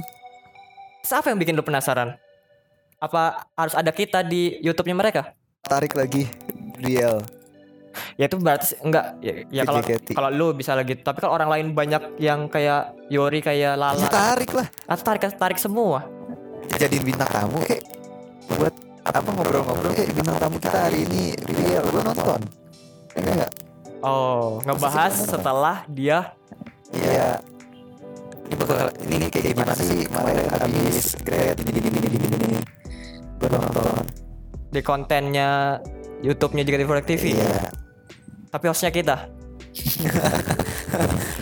S2: Terus apa yang bikin lu penasaran? Apa harus ada kita di YouTube-nya mereka?
S1: tarik lagi duel
S2: Ya itu berarti enggak ya, ya
S1: Ke
S2: kalau
S1: JKT.
S2: kalau lu bisa lagi tapi kalau orang lain banyak yang kayak Yori kayak Lala
S1: Ya, tarik lah
S2: atau tarik tarik semua.
S1: jadiin bintang tamu kayak buat apa ngobrol-ngobrol kayak bintang tamu kita hari ini real gue nonton Iya nggak?
S2: Oh, ngebahas setelah dia
S1: iya ini bakal ini nih kayak gimana sih kemarin habis grade gini gini gini gini gini buat nonton
S2: di kontennya YouTube-nya JKT48 TV.
S1: iya
S2: Tapi hostnya kita.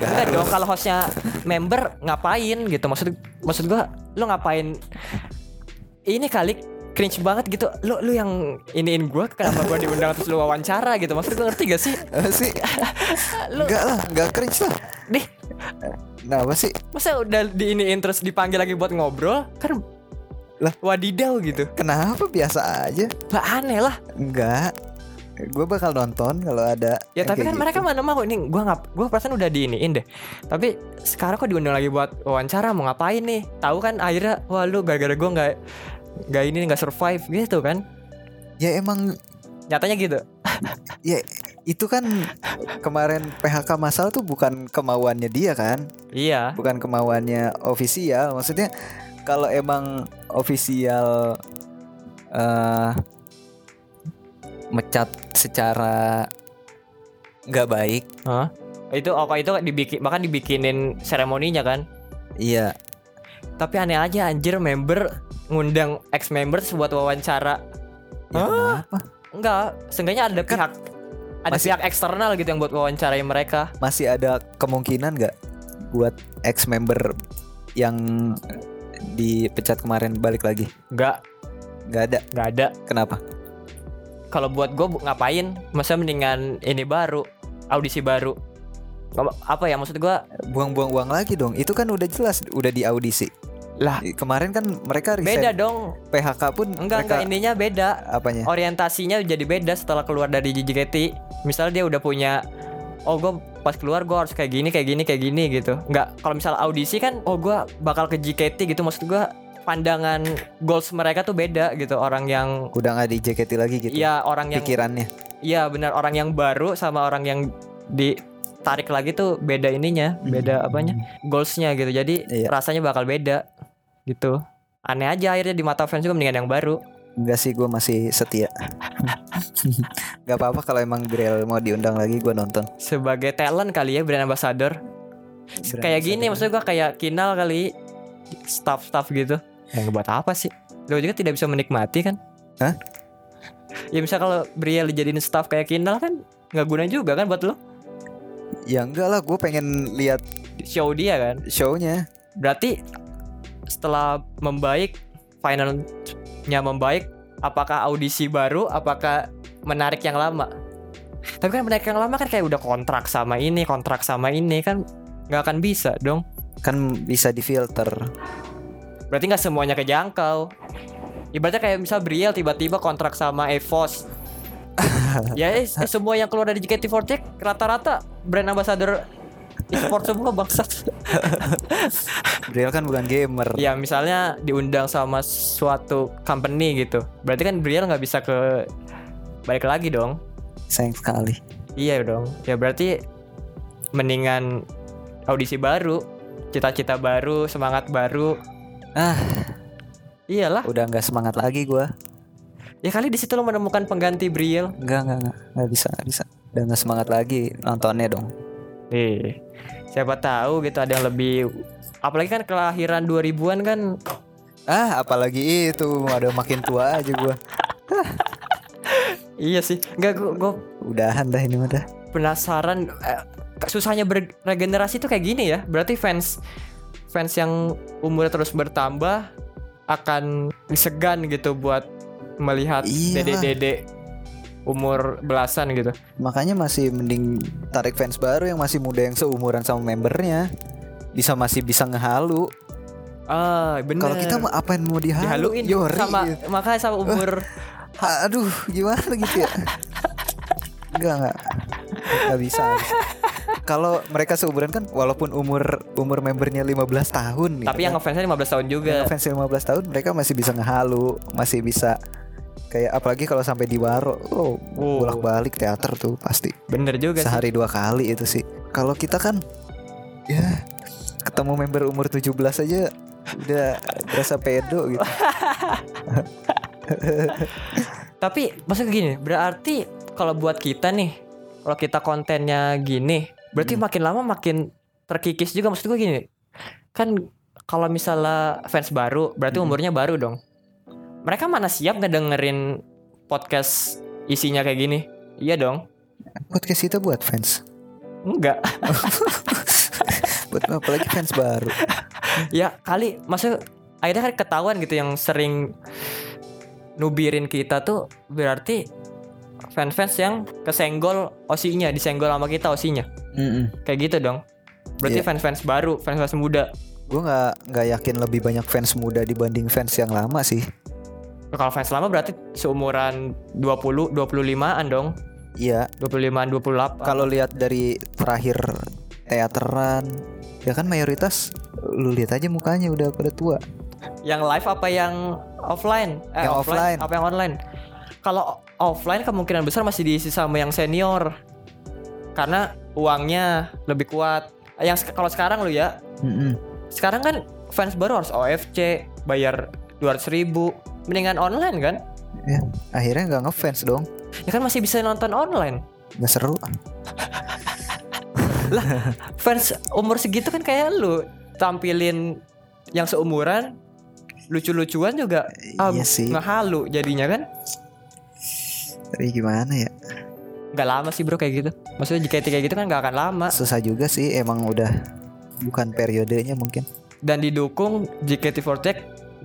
S2: Enggak dong kalau hostnya member ngapain gitu maksud maksud gua lu ngapain ini kali cringe banget gitu lu lu yang iniin gua kenapa gua diundang terus lu wawancara gitu maksud gua ngerti gak sih
S1: Eh, sih
S2: lu
S1: enggak lah enggak cringe lah
S2: deh
S1: nah apa sih
S2: masa udah diiniin terus dipanggil lagi buat ngobrol kan
S1: Lah.
S2: wadidaw gitu
S1: kenapa biasa aja
S2: lah aneh lah
S1: enggak gue bakal nonton kalau ada
S2: ya
S1: yang
S2: tapi
S1: kayak
S2: kan
S1: gitu.
S2: mereka mana mau ini gua ngap gua perasaan udah diiniin deh tapi sekarang kok diundang lagi buat wawancara mau ngapain nih tahu kan akhirnya wah lu gara-gara gua nggak nggak ini nggak survive gitu kan
S1: ya emang
S2: nyatanya gitu
S1: ya itu kan kemarin PHK masal tuh bukan kemauannya dia kan
S2: iya
S1: bukan kemauannya ofisial maksudnya kalau emang ofisial eh mecat secara nggak baik
S2: Hah? itu oh kalau itu dibikin bahkan dibikinin seremoninya kan
S1: iya
S2: tapi aneh aja anjir member ngundang ex member buat wawancara
S1: ya kenapa?
S2: enggak seenggaknya ada pihak ada
S1: Kan masih-
S2: pihak eksternal gitu yang buat wawancarai mereka
S1: masih ada kemungkinan nggak buat ex member yang dipecat kemarin balik lagi
S2: enggak
S1: nggak ada
S2: enggak ada
S1: kenapa
S2: kalau buat gue ngapain masa mendingan ini baru audisi baru Nggak- apa ya maksud gue
S1: buang-buang uang lagi dong itu kan udah jelas udah di audisi
S2: lah
S1: kemarin kan mereka resign
S2: beda dong
S1: PHK pun
S2: enggak
S1: mereka
S2: enggak ininya beda
S1: apanya
S2: orientasinya jadi beda setelah keluar dari JKT misalnya dia udah punya oh gue pas keluar gue harus kayak gini kayak gini kayak gini gitu nggak kalau misal audisi kan oh gue bakal ke JKT gitu maksud gue pandangan goals mereka tuh beda gitu orang yang
S1: udah nggak di JKT lagi gitu
S2: ya orang yang
S1: pikirannya
S2: Iya benar orang yang baru sama orang yang ditarik lagi tuh beda ininya,
S1: Hmm.
S2: beda apanya? Goalsnya gitu. Jadi
S1: Iya.
S2: rasanya bakal beda gitu. Aneh aja akhirnya di mata fans juga mendingan yang baru.
S1: enggak sih gue masih setia nggak apa-apa kalau emang Grel mau diundang lagi gue nonton
S2: Sebagai talent kali ya brand ambassador. kayak gini maksudnya gua kayak Kinal kali staff-staff gitu. Yang buat apa sih? Lo juga tidak bisa menikmati kan?
S1: Hah?
S2: ya misal kalau Briel dijadiin staff kayak Kinal kan nggak guna juga kan buat lo
S1: ya enggak lah gue pengen lihat
S2: show dia kan
S1: shownya
S2: Berarti setelah membaik finalnya membaik, apakah audisi baru, apakah menarik yang lama? Tapi kan menarik yang lama kan kayak udah kontrak sama ini, kontrak sama ini kan nggak akan bisa dong.
S1: kan bisa difilter
S2: Berarti nggak semuanya kejangkau. Ibaratnya kayak misal Briel tiba-tiba kontrak sama Evos. ya eh, semua yang keluar dari JKT48 rata-rata brand ambassador e-sport semua bangsat.
S1: Grel kan bukan gamer
S2: Ya misalnya diundang sama suatu company gitu Berarti kan Briel nggak bisa ke balik lagi dong
S1: sayang sekali
S2: Iya dong Ya berarti mendingan audisi baru Cita-cita baru, semangat baru
S1: ah
S2: Iyalah
S1: udah nggak semangat lagi gue
S2: Ya kali di situ lo menemukan pengganti Briel
S1: Enggak, enggak, enggak, enggak bisa, enggak bisa. Udah enggak semangat lagi nontonnya dong.
S2: Eh, Siapa tahu gitu ada yang lebih Apalagi kan kelahiran 2000-an kan
S1: Ah, apalagi itu, ada makin tua aja gua.
S2: Iya sih Enggak gue gua
S1: Udahan dah ini mah dah.
S2: penasaran eh, susahnya beregenerasi tuh kayak gini ya berarti fans fans yang umurnya terus bertambah akan segan gitu buat melihat
S1: Iya.
S2: dede-dede umur belasan gitu
S1: Makanya masih mending tarik fans baru yang masih muda yang seumuran sama membernya. Bisa masih bisa ngehalu.
S2: ah bener
S1: Kalau kita mah apain mau dihalu?
S2: dihaluin
S1: Yori. gitu.
S2: sama makanya sama umur
S1: Ha- aduh, gimana gitu ya? enggak, enggak. Enggak bisa. Kalau mereka seumuran kan walaupun umur umur membernya 15 tahun gitu
S2: tapi yang
S1: kan.
S2: ngefansnya 15 tahun juga
S1: Yang fans 15 tahun mereka masih bisa ngehalu, masih bisa kayak apalagi kalau sampai di Waro, oh,
S2: Wow.
S1: bolak-balik teater tuh pasti.
S2: bener juga sih.
S1: Sehari dua kali itu sih. Kalau kita kan ya ketemu member umur 17 aja udah berasa pedo gitu.
S2: tapi maksudnya gini berarti kalau buat kita nih kalau kita kontennya gini berarti makin lama makin terkikis juga maksud gue gini kan kalau misalnya fans baru berarti umurnya baru dong mereka mana siap ngedengerin podcast isinya kayak gini iya dong
S1: Podcast kita buat fans
S2: enggak
S1: Buat apalagi fans baru
S2: ya kali maksud akhirnya kan ketahuan gitu yang sering nubirin kita tuh berarti fans-fans yang kesenggol osinya disenggol sama kita osinya
S1: Mm-mm.
S2: kayak gitu dong berarti
S1: Iya.
S2: fans-fans baru fans-fans muda
S1: Gue nggak nggak yakin lebih banyak fans muda dibanding fans yang lama sih.
S2: kalau fans lama berarti seumuran 20 25an dong
S1: Iya,
S2: 25an 28
S1: kalau lihat dari terakhir teateran, ya kan mayoritas lu lihat aja mukanya udah pada tua.
S2: yang live apa yang offline eh,
S1: Yang offline.
S2: apa yang online kalau o- offline kemungkinan besar masih diisi sama yang senior karena uangnya lebih kuat yang sek- kalau sekarang lu ya
S1: Mm-mm.
S2: sekarang kan fans baru harus OFC bayar 200 ribu mendingan online kan
S1: Ya, akhirnya nggak ngefans dong,
S2: ya kan masih bisa nonton online
S1: nggak seru.
S2: fans umur segitu kan kayak lu tampilin yang seumuran lucu-lucuan juga ah,
S1: Iya sih.
S2: ngehalu jadinya kan
S1: Tapi gimana ya?
S2: nggak lama sih bro kayak gitu maksudnya jika kayak gitu kan nggak akan lama
S1: Susah juga sih, emang udah bukan periodenya mungkin.
S2: dan didukung JKT48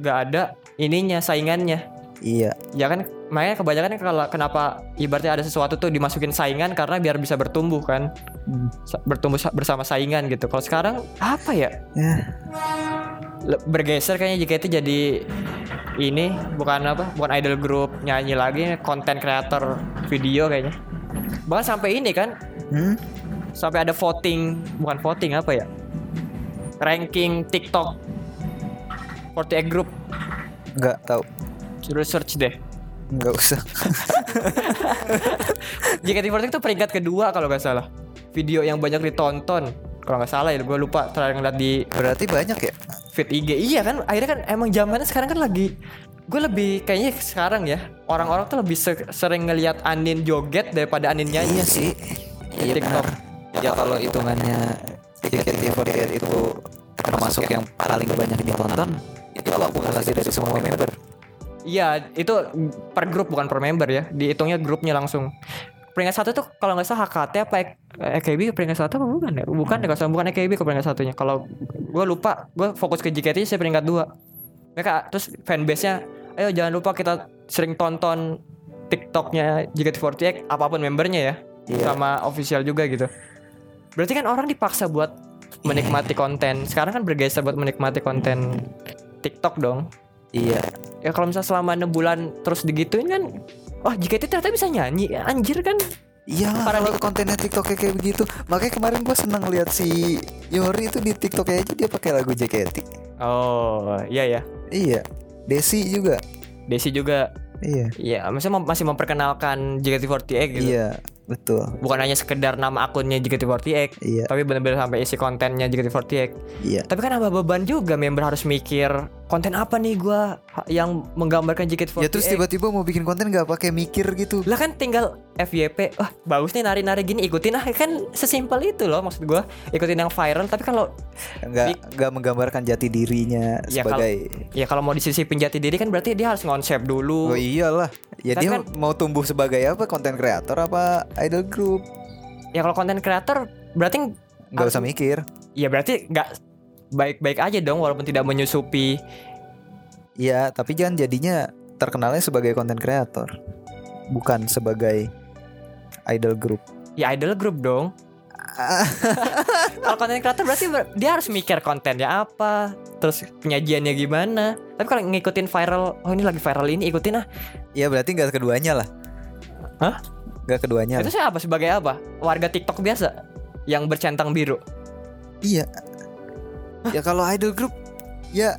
S2: nggak ada ininya saingannya
S1: Iya,
S2: ya kan makanya kebanyakan kalau kenapa ibaratnya ada sesuatu tuh dimasukin saingan karena biar bisa bertumbuh kan
S1: Hmm.
S2: Sa- bertumbuh sa- bersama saingan gitu kalau sekarang apa ya
S1: ya
S2: Le- bergeser kayaknya JKT jadi ini bukan apa bukan idol group nyanyi lagi konten creator video kayaknya bahkan sampai ini kan
S1: hmm?
S2: sampai ada voting bukan voting apa ya ranking TikTok 48 group
S1: nggak tahu,
S2: suruh search deh
S1: nggak usah.
S2: JKT48 itu peringkat kedua kalau nggak salah video yang banyak ditonton kalau nggak salah ya gue lupa terakhir ngeliat di
S1: Berarti banyak ya?
S2: feed IG iya kan akhirnya kan emang zamannya sekarang kan lagi gue lebih kayaknya sekarang ya orang-orang tuh lebih se- sering ngelihat Anin joget daripada Anin nyanyi
S1: sih.
S2: Iya di TikTok
S1: Iya, Ya kalau hitungannya JKT48 itu termasuk yang paling banyak ditonton itu kalau akumulasi dari semua member
S2: Iya, itu per grup bukan per member ya. Dihitungnya grupnya langsung. Peringkat satu tuh kalau nggak salah HKT apa E- EKB peringkat satu apa bukan ya? Bukan deh, kalau salah, bukan EKB ke peringkat satunya. Kalau gue lupa, gue fokus ke JKT saya peringkat dua. Mereka terus fanbase-nya, ayo jangan lupa kita sering tonton TikToknya JKT48 apapun membernya ya,
S1: Iya.
S2: sama official juga gitu. Berarti kan orang dipaksa buat menikmati
S1: Iya.
S2: konten. Sekarang kan bergeser buat menikmati konten TikTok dong
S1: Iya
S2: ya kalau misalnya selama 6 bulan terus digituin kan wah JKT ternyata bisa nyanyi Ya, anjir kan
S1: Iyalah
S2: Para
S1: Iya kalau kontennya TikToknya kayak begitu Makanya kemarin gua seneng lihat si Yori itu di TikToknya aja dia pakai lagu JKT
S2: oh iya ya
S1: Iya Desi juga
S2: Desi juga
S1: Iya
S2: ya maksudnya mem- masih memperkenalkan JKT48 gitu
S1: Iya Betul
S2: bukan hanya sekedar nama akunnya JKT48
S1: Iya
S2: tapi benar-benar sampai isi kontennya JKT48
S1: Iya
S2: tapi kan nambah beban juga member harus mikir konten apa nih gua ha- yang menggambarkan JKT48
S1: Ya terus tiba-tiba mau bikin konten gak pakai mikir gitu
S2: lah kan tinggal FYP wah bagus nih nari-nari gini ikutin ah kan sesimpel itu loh maksud gua ikutin yang viral tapi kalau
S1: Nggak, nggak menggambarkan jati dirinya
S2: Ya, kalau-
S1: sebagai
S2: Ya kalau mau disisipin jati diri kan berarti dia harus ngonsep
S1: Oh
S2: dulu.
S1: iyalah Ya
S2: Tapi
S1: dia
S2: kan-
S1: mau tumbuh sebagai apa Konten kreator apa idol group
S2: Ya kalau konten kreator berarti
S1: Gak
S2: Aku-
S1: usah mikir
S2: ya berarti nggak baik-baik aja dong walaupun tidak menyusupi.
S1: Iya tapi jangan jadinya Terkenalnya sebagai konten kreator Bukan sebagai Idol group
S2: Ya idol group dong. kalau konten kreator berarti ber- dia harus mikir kontennya apa, terus penyajiannya gimana. Tapi kalau ngikutin viral, oh ini lagi viral ini ikutin ah.
S1: Ya berarti gak keduanya lah
S2: Hah?
S1: Gak keduanya lah.
S2: Itu saya apa sebagai apa? Warga TikTok biasa yang bercentang biru.
S1: Iya Ya kalau idol group Ya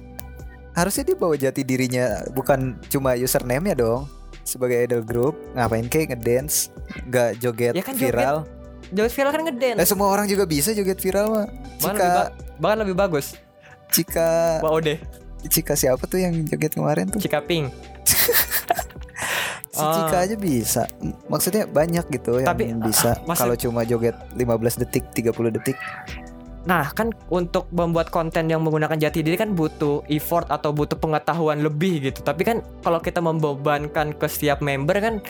S1: Harusnya dia bawa jati dirinya Bukan cuma username-nya dong Sebagai idol group Ngapain kayak ngedance Gak joget
S2: Ya kan joget.
S1: viral
S2: Joget viral kan
S1: Eh
S2: ngedance.
S1: semua orang juga bisa joget viral mah
S2: Bahkan
S1: Cika
S2: lebih, ba- bahkan lebih bagus.
S1: Cika
S2: Mbak Ode,
S1: Cika siapa tuh yang joget kemarin tuh
S2: Cika Pink.
S1: Si Cika aja bisa M- Maksudnya banyak gitu yang
S2: Ah. Tapi, ah,
S1: bisa
S2: maksud-
S1: Kalau cuma joget 15 detik 30 detik
S2: Nah, kan untuk membuat konten yang menggunakan jati diri kan butuh effort atau butuh pengetahuan lebih gitu. Tapi kan kalau kita membebankan ke setiap member kan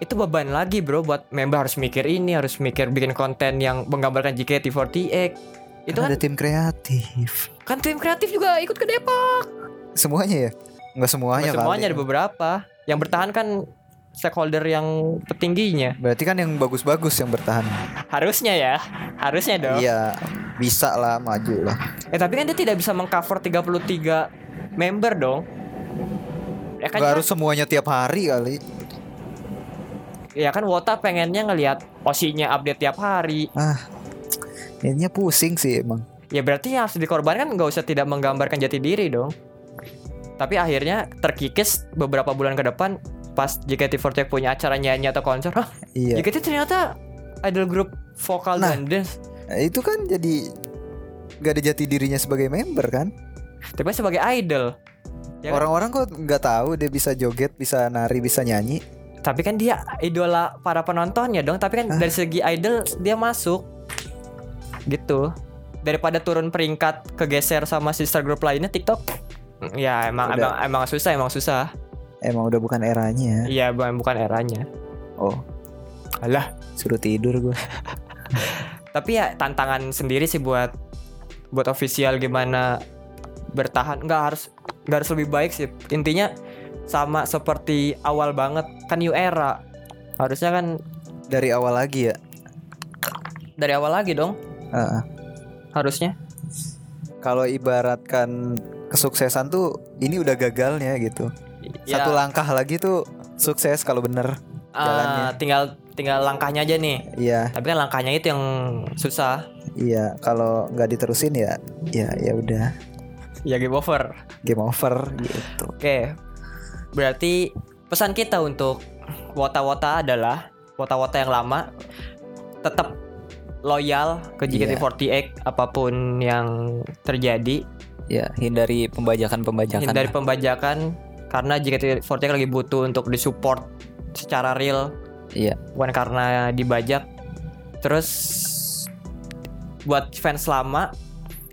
S2: itu beban lagi, Bro, buat member harus mikir ini, harus mikir bikin konten yang menggambarkan JKT48. Itu
S1: Kan
S2: kan
S1: ada tim kreatif.
S2: kan tim kreatif juga ikut ke Depok.
S1: Semuanya ya? Nggak semuanya kali.
S2: Nggak
S1: ya.
S2: semuanya ada beberapa. Yang bertahan kan stakeholder yang petingginya.
S1: Berarti kan yang bagus-bagus yang bertahan.
S2: Harusnya ya. Harusnya dong.
S1: Iya, bisa lah maju lah.
S2: Eh tapi kan dia tidak bisa mengcover 33 member dong. Ya kan
S1: Nggak harus semuanya tiap hari kali.
S2: ya kan Wota pengennya ngelihat osinya update tiap hari.
S1: Ah, jadinya pusing sih emang.
S2: Ya berarti yang harus dikorbankan nggak usah tidak menggambarkan jati diri dong. Tapi akhirnya terkikis beberapa bulan ke depan pas JKT48 punya acara nyanyi atau konser. Hah,
S1: Iya.
S2: JKT ternyata idol grup vokal
S1: Nah.
S2: dan dance.
S1: Itu kan jadi nggak ada jati dirinya sebagai member kan?
S2: Tapi sebagai idol. Ya kan?
S1: Orang-orang kok nggak tahu dia bisa joget, bisa nari, bisa nyanyi.
S2: Tapi kan dia idola para penontonnya dong. Tapi kan
S1: Ah.
S2: dari segi idol dia masuk gitu. Daripada turun peringkat kegeser sama sister group lainnya TikTok. Ya emang emang
S1: Udah.
S2: emang susah emang susah.
S1: Emang udah bukan eranya.
S2: Iya bukan bukan eranya.
S1: Oh,
S2: Alah.
S1: suruh tidur gue.
S2: Tapi ya tantangan sendiri sih buat buat official gimana bertahan. Nggak harus nggak harus lebih baik sih. Intinya sama seperti awal banget kan new era. Harusnya kan
S1: Dari awal lagi ya.
S2: dari awal lagi dong
S1: Heeh.
S2: harusnya.
S1: Kalau ibaratkan kesuksesan tuh ini udah gagalnya gitu.
S2: Ya.
S1: Satu langkah lagi tuh sukses kalau bener.
S2: Ah,
S1: jalannya.
S2: tinggal tinggal langkahnya aja nih.
S1: Iya,
S2: Tapi kan langkahnya itu yang susah.
S1: iya. Kalau nggak diterusin ya, ya ya udah
S2: Ya game over.
S1: game over gitu.
S2: Oke. Berarti pesan kita untuk wota-wota adalah wota-wota yang lama tetap loyal ke JKT48 apapun yang terjadi
S3: Ya, hindari pembajakan-pembajakan.
S2: hindari
S3: lah.
S2: pembajakan karena JKT48 lagi butuh untuk disupport secara real
S3: Iya.
S2: bukan karena dibajak terus buat fans lama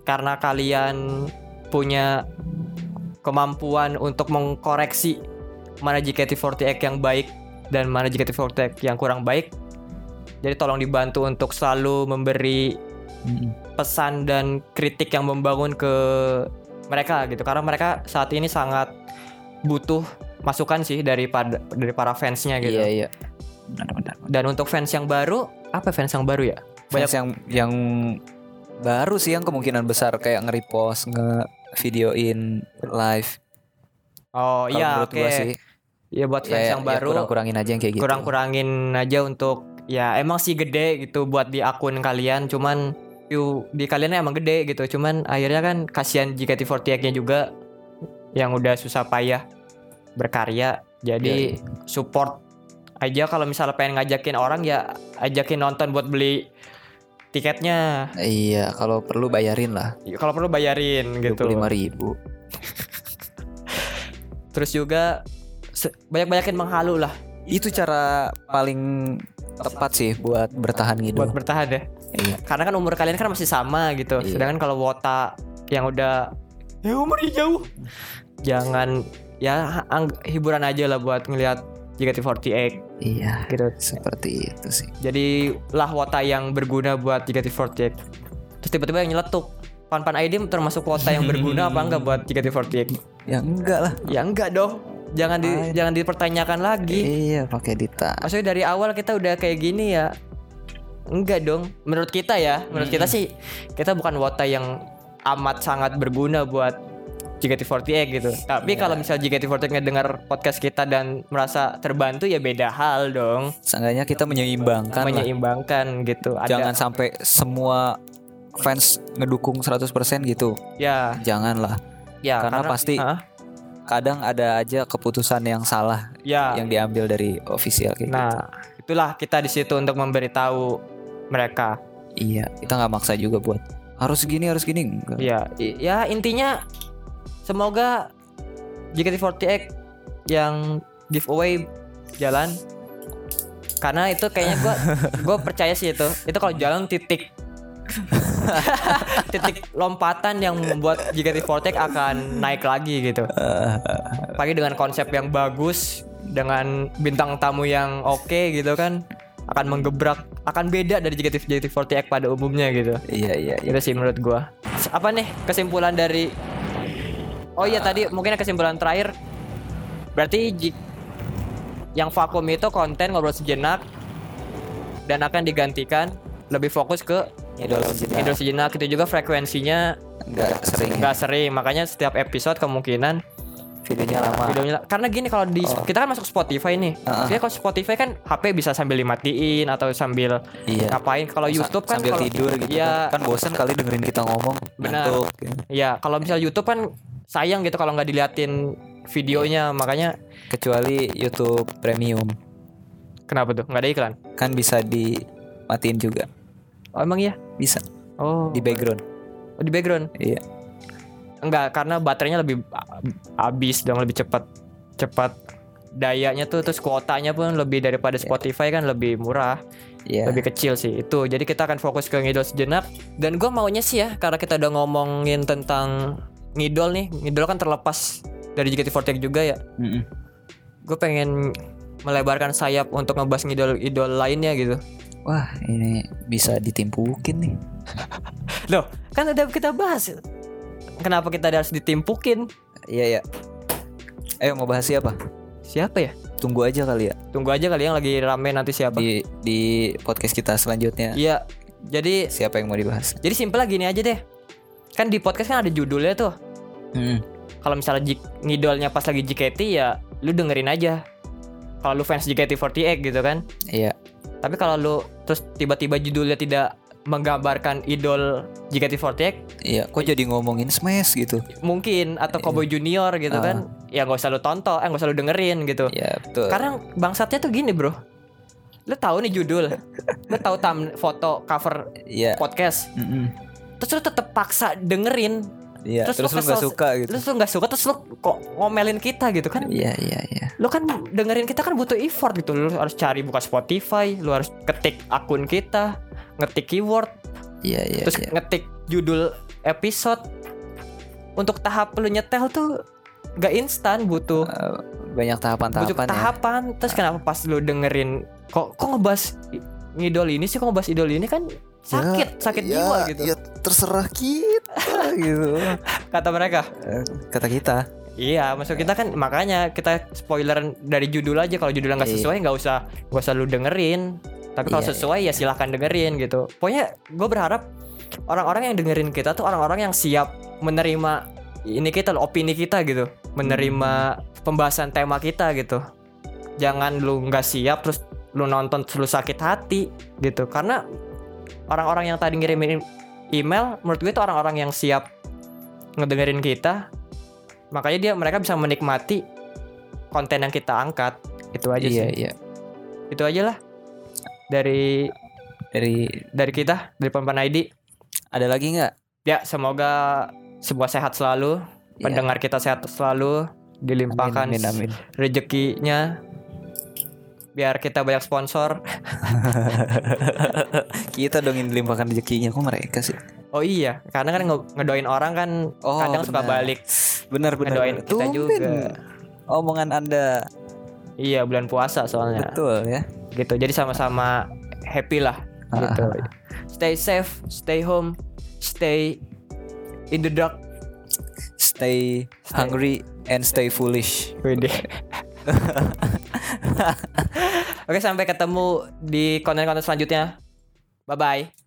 S2: karena kalian punya kemampuan untuk mengkoreksi mana JKT48 yang baik dan mana JKT48 yang kurang baik jadi tolong dibantu untuk selalu memberi
S3: Mm-mm.
S2: pesan dan kritik yang membangun ke mereka gitu karena mereka saat ini sangat butuh masukan sih dari pada dari para fansnya gitu
S3: Iya, iya. Benar-benar.
S2: dan untuk fans yang baru apa fans yang baru ya
S3: Fans yang yang baru sih yang kemungkinan besar kayak nge-repost, nge-videoin live.
S2: oh
S3: Kalau
S2: iya
S3: menurut
S2: oke
S3: gua sih.
S2: ya buat fans
S3: ya,
S2: yang
S3: ya
S2: baru
S3: kurang-kurangin aja yang kayak gitu.
S2: kurang-kurangin aja untuk ya emang sih gede gitu buat di akun kalian cuman view di kalian emang gede gitu cuman akhirnya kan kasihan JKT48 nya juga yang udah susah payah berkarya jadi support aja kalau misalnya pengen ngajakin orang ya ajakin nonton buat beli tiketnya
S3: Iya, kalau perlu bayarin lah
S2: kalau perlu bayarin gitu
S3: 25 ribu
S2: terus juga se- banyak-banyakin menghalu lah
S3: Itu cara paling tepat sih buat bertahan gitu.
S2: buat bertahan ya
S3: Iya.
S2: karena kan umur kalian kan masih sama gitu
S3: Iya.
S2: sedangkan kalau wota yang udah ya umurnya jauh jangan ya ang- hiburan aja lah buat ngelihat JKT48
S3: Iya,
S2: gitu
S3: seperti itu sih.
S2: jadi lah wota yang berguna buat JKT48 terus tiba-tiba yang nyeletuk Pan-Pan ID termasuk wota yang berguna apa enggak buat JKT48
S3: Ya enggak lah.
S2: ya enggak dong jangan di,
S3: Ay.
S2: jangan dipertanyakan lagi
S3: Iya, pakai dita.
S2: Maksudnya dari awal kita udah kayak gini ya Enggak dong Menurut kita ya Menurut kita sih Kita bukan wota yang Amat sangat berguna buat JKT48 gitu
S3: Iya.
S2: Tapi kalau misalnya JKT48 ngedengar podcast kita Dan merasa terbantu ya beda hal dong
S3: Seenggaknya kita menyeimbangkan lah.
S2: Menyeimbangkan gitu Ada,
S3: Jangan sampai semua fans ngedukung 100% gitu.
S2: Ya,
S3: Janganlah.
S2: ya
S3: Karena pasti
S2: Hah?
S3: Kadang ada aja keputusan yang salah
S2: Ya
S3: yang diambil dari official kayak gitu.
S2: Nah itulah kita di situ untuk memberitahu mereka
S3: Iya, kita nggak maksa juga buat harus gini harus gini. Enggak.
S2: Ya, i- ya intinya semoga JKT48 yang giveaway jalan karena itu kayaknya gua gua percaya sih itu. Itu kalau jalan titik. titik lompatan yang membuat JKT48 akan naik lagi gitu.
S1: Ah,
S2: Pagi dengan konsep yang bagus, dengan bintang tamu yang oke gitu kan akan menggebrak, akan beda dari JKT JKT48 pada umumnya gitu.
S1: Iya iya iya.
S2: Itu sih menurut gua. Apa nih kesimpulan dari Oh iya tadi mungkin kesimpulan terakhir berarti ji- yang vakum itu konten ngobrol sejenak dan akan digantikan lebih fokus ke
S1: Idol sejenak.
S2: idol sejenak itu juga frekuensinya
S1: Enggak sering. ya.
S2: nggak sering makanya setiap episode kemungkinan
S1: Videonya lama.
S2: videonya karena gini kalau di kita kan masuk Spotify nih
S1: Oh. Ah, ah.
S2: Maksudnya kalau Spotify kan HP bisa sambil dimatiin atau sambil
S1: Iya.
S2: ngapain kalau
S1: Sa-
S2: YouTube kan
S1: sambil
S2: kalau-
S1: tidur gitu
S2: Iya,
S1: kan. kan bosen kali dengerin kita ngomong
S2: Benar.
S1: ngantuk, gitu.
S2: Iya, kalau misal YouTube kan sayang gitu kalau nggak diliatin videonya, makanya
S1: kecuali YouTube Premium
S2: kenapa tuh? Nggak ada iklan?
S1: kan bisa dimatiin juga
S2: Oh, emang iya?
S1: bisa
S2: Oh,
S1: di background
S2: oh, di background?
S1: iya
S2: Enggak, karena baterainya lebih a- habis dong, lebih cepat, cepat dayanya tuh terus kuotanya pun lebih daripada Spotify kan lebih murah,
S1: iya
S2: lebih kecil sih itu. Jadi kita akan fokus ke ngidol sejenak. Dan gua maunya sih ya, karena kita udah ngomongin tentang ngidol nih, ngidol kan terlepas dari JKT48 juga ya.
S1: Mm-mm.
S2: gue pengen melebarkan sayap untuk ngebahas idol idol lainnya gitu
S1: wah ini bisa ditimpukin nih
S2: loh kan udah kita bahas kenapa kita harus ditimpukin
S1: iya iya ayo mau bahas siapa
S2: siapa ya
S1: tunggu aja kali ya
S2: tunggu aja kali yang lagi rame nanti siapa
S1: di di podcast kita selanjutnya
S2: iya jadi
S1: siapa yang mau dibahas
S2: jadi simpel gini aja deh kan di podcast kan ada judulnya tuh
S1: Mm-mm.
S2: kalau misalnya jik- ngidolnya pas lagi JKT ya lu dengerin aja kalau lu fans JKT48 gitu kan
S1: iya
S2: tapi kalau lu terus tiba-tiba judulnya tidak menggambarkan idol JKT48
S1: iya kok jadi ngomongin smash gitu
S2: mungkin atau Cowboy Junior gitu
S1: Ah.
S2: kan ya nggak usah lu tonton eh nggak usah lu dengerin gitu
S1: iya betul
S2: karena bangsatnya tuh gini bro lu tahu nih judul lu tahu tam foto cover
S1: iya
S2: podcast
S1: Mm-mm.
S2: terus lu tetep paksa dengerin
S1: iya
S2: Terus
S1: terus,
S2: lu
S1: lu nggak
S2: kesel-
S1: suka gitu
S2: terus lu nggak suka terus lu kok ngomelin kita gitu kan
S1: iya iya iya
S2: lu kan dengerin kita kan butuh effort gitu lu harus cari buka Spotify lu harus ketik akun kita ngetik keyword
S1: iya iya
S2: terus
S1: iya.
S2: ngetik judul episode untuk tahap lu nyetel tuh gak instan butuh
S1: Eh, banyak
S2: butuh
S1: tahapan-tahapan ya.
S2: tahapan terus kenapa pas lu dengerin kok kok ngebahas i- ngidol ini sih kok ngebahas idol ini kan sakit
S1: Iya,
S2: sakit
S4: Ya,
S2: jiwa gitu
S4: ya terserah kita gitu
S2: kata mereka
S1: Eh, kata kita
S2: iya maksud kita kan makanya kita spoiler dari judul aja kalau judulnya nggak
S1: Iya.
S2: sesuai nggak usah nggak usah lu dengerin tapi kalau
S1: Iya,
S2: sesuai ya silahkan dengerin gitu pokoknya gue berharap orang-orang yang dengerin kita tuh orang-orang yang siap menerima ini kita loh, opini kita gitu menerima pembahasan tema kita gitu jangan lu nggak siap terus lu nonton terus lu sakit hati gitu karena orang-orang yang tadi ngirimin email menurut gue itu orang-orang yang siap ngedengerin kita makanya dia mereka bisa menikmati konten yang kita angkat itu aja
S1: iya
S2: sih
S1: iya
S2: itu aja lah dari
S1: dari
S2: dari kita dari Pempan ID
S1: ada lagi nggak
S2: ya semoga semua sehat selalu
S1: Iya.
S2: pendengar kita sehat selalu dilimpahkan
S1: amin amin, amin.
S2: rezekinya biar kita banyak sponsor
S1: kita dong yang dilimpahkan rezekinya kok mereka sih
S2: oh iya karena kan nge- ngedoain orang kan
S1: Oh,
S2: kadang suka
S1: benar.
S2: balik
S1: benar benar
S2: Ngedoain
S1: benar.
S2: kita
S1: Tumben
S2: juga.
S1: omongan anda
S2: iya bulan puasa soalnya
S1: betul ya
S2: gitu jadi sama-sama happy lah gitu stay safe stay home stay in the dark
S1: stay, hungry and stay foolish
S2: Wede. Oke, sampai ketemu di konten-konten selanjutnya. Bye bye.